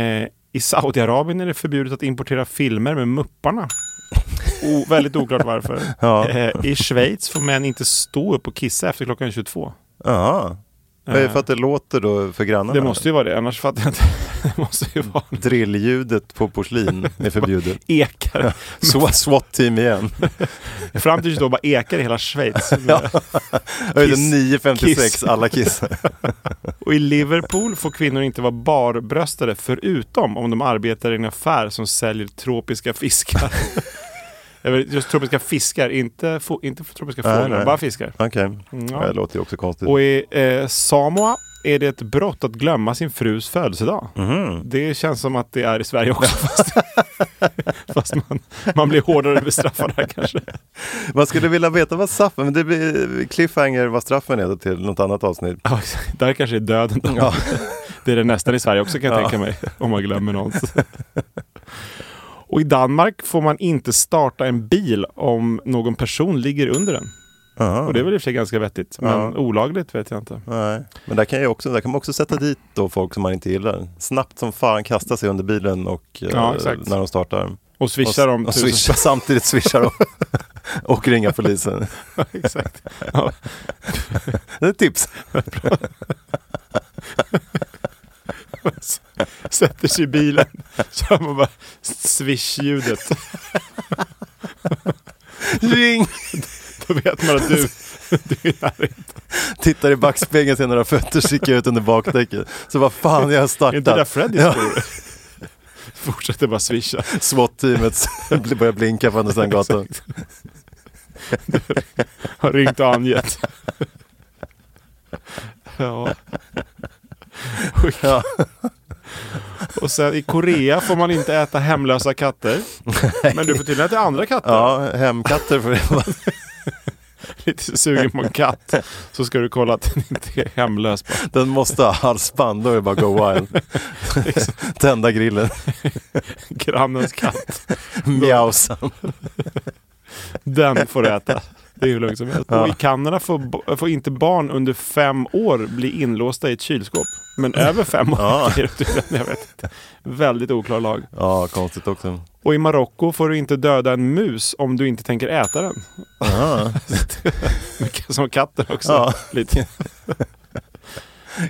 I Saudiarabien är det förbjudet att importera filmer med Mupparna. O- väldigt oklart varför.
Ja.
Eh, I Schweiz får män inte stå upp och kissa efter klockan 22.
Jaha. Är det för att det låter då för grannarna?
Eh. Det måste ju vara det, annars fattar jag inte. Det måste ju vara
Drillljudet på porslin är förbjudet.
ekar.
Så SWAT-team igen.
Fram till 22 bara ekar i hela Schweiz.
Jag vet
Kiss.
inte, 9.56,
Kiss.
alla kissar.
Och i Liverpool får kvinnor inte vara barbröstade förutom om de arbetar i en affär som säljer tropiska fiskar. Jag vet, Just tropiska fiskar, inte, fo- inte tropiska
Nej,
fåglar,
nej.
bara fiskar.
Okej,
Mm, Ja.
det låter ju också konstigt.
Och i eh, Samoa är det ett brott att glömma sin frus födelsedag.
Mhm.
Det känns som att det är i Sverige också. Fast, fast man, man blir hårdare bestraffad här kanske.
Man skulle vilja veta vad straffen, men det blir cliffhanger vad straffen är då till något annat avsnitt.
Ja, exakt. Där kanske är döden. då. Det är det nästan i Sverige också kan jag tänka mig. Om man glömmer någon. Och i Danmark får man inte starta en bil om någon person ligger under den.
Aha.
Och det är väl i och för sig ganska vettigt. Men
Ja.
olagligt vet jag inte.
Nej. Men där kan, jag också, där kan man också sätta dit då folk som man inte gillar. Snabbt som fan kasta sig under bilen och eh,
Ja, exakt.
när de startar.
Och swishar
och,
de
och
tusen
swisha, samtidigt swishar de och ringa polisen.
Exakt. Ja.
Det är ett tips.
Sätter sig i bilen, kör man bara swish-ljudet.
Ring!
Då vet man att du, du är här.
Tittar i backspegeln, ser några fötter sticka ut under bakdäcket. Så vad fan, jag har
Är inte det där
startat.
Freddy
Ja.
bor? Fortsätter bara swisha.
SWAT-teamet börjar blinka på andra sidan gatan.
Har ringt och angett. Ja. Och-
Ja.
Och sen i Korea får man inte äta hemlösa katter. Men du får tydligen äta andra katter.
Ja, hemkatter. För
Lite sugen på en katt. Så ska du kolla att den inte är hemlös. bara.
den måste ha halsband, då är det bara go wild. Tända grillen,
Grannens katt.
mjausa.
Den får du äta. Det är hur lugnt som helst. Och i Kanada får, bo- får inte barn under fem år bli inlåsta i ett kylskåp. Men över fem år
Ja.
är det tydligen, jag vet inte. Väldigt oklar lag.
Ja, konstigt också.
Och i Marocko får du inte döda en mus om du inte tänker äta den. Mycket som katter också.
Ja.
Lite.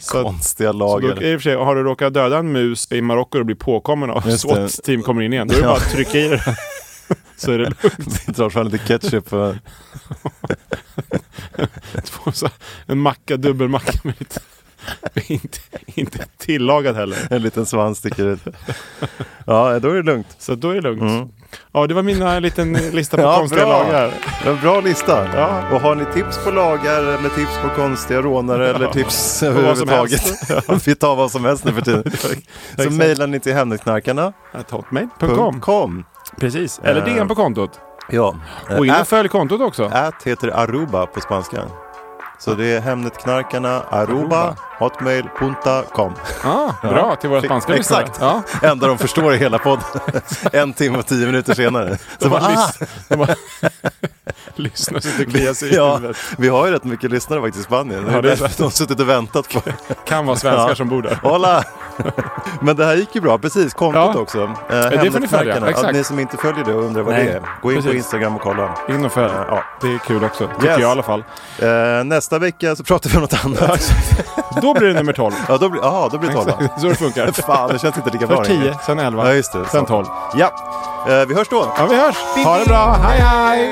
Så, att-
Konstiga
så då, i och
lager.
för sig, har du råkat döda en mus i Marocko och blir påkommen av
Just det.
SWAT-team kommer in igen, då är det bara att trycka i det där. Så är det lugnt.
Vi drar fram lite ketchup. Och,
Två så- En macka, dubbelmacka med lite... Inte, inte tillagad heller.
en liten svans sticker ut. Ja, då är det lugnt.
Så då är det lugnt. Ja, det var mina liten lista på
Mm. Ja,
konstiga
bra.
lagar.
Det var en bra lista.
Ja.
Och har ni tips på lagar eller tips på konstiga rånare eller tips överhuvudtaget. Vi tar vad som helst nu för tiden. Så
Exakt.
mejlar ni till hemnetknarkarna.com.
At hotmail.com. Precis. Eller
Eh.
DN på kontot.
Ja.
Och in
Eh,
och följ kontot också.
At heter Aruba på spanska. Så det är Hemnetknarkarna, Aruba,
Aruba.
hotmail.com.
Ah, bra, till våra spanska lyssnare.
Exakt.
Ja.
Enda de förstår i hela podden. en timme och tio minuter senare. Så
De
bara,
bara
ah,
lys- de bara lyssnar så att det kliar sig i
ja,
huvudet.
vi har ju rätt mycket lyssnare faktiskt i Spanien.
Ja, det är
de har suttit och väntat på
Kan vara svenskar
Ja.
som bor där.
Hola! Men det här gick ju bra, precis. Kontot
Ja.
också. Eh,
får ni
Hemnetknarkarna.
följa,
Ja,
exakt.
ni som inte följer det och undrar vad
Nej,
det är. Gå in på
precis.
Instagram och kolla.
In och följ.
Ja.
Det är kul också, tycker
Yes.
jag i alla fall.
Eh, nästa vecka så pratar vi om något annat.
Då blir det nummer 12.
Ja, då blir, aha, då blir det tolva.
Så det funkar.
Fan, det känns inte lika bra
Först 10,
längre.
sen 11,
Ja, just det.
sen
Så.
12.
Ja, eh, vi hörs då.
Ja, vi hörs. Ha det bra. Hej, hej!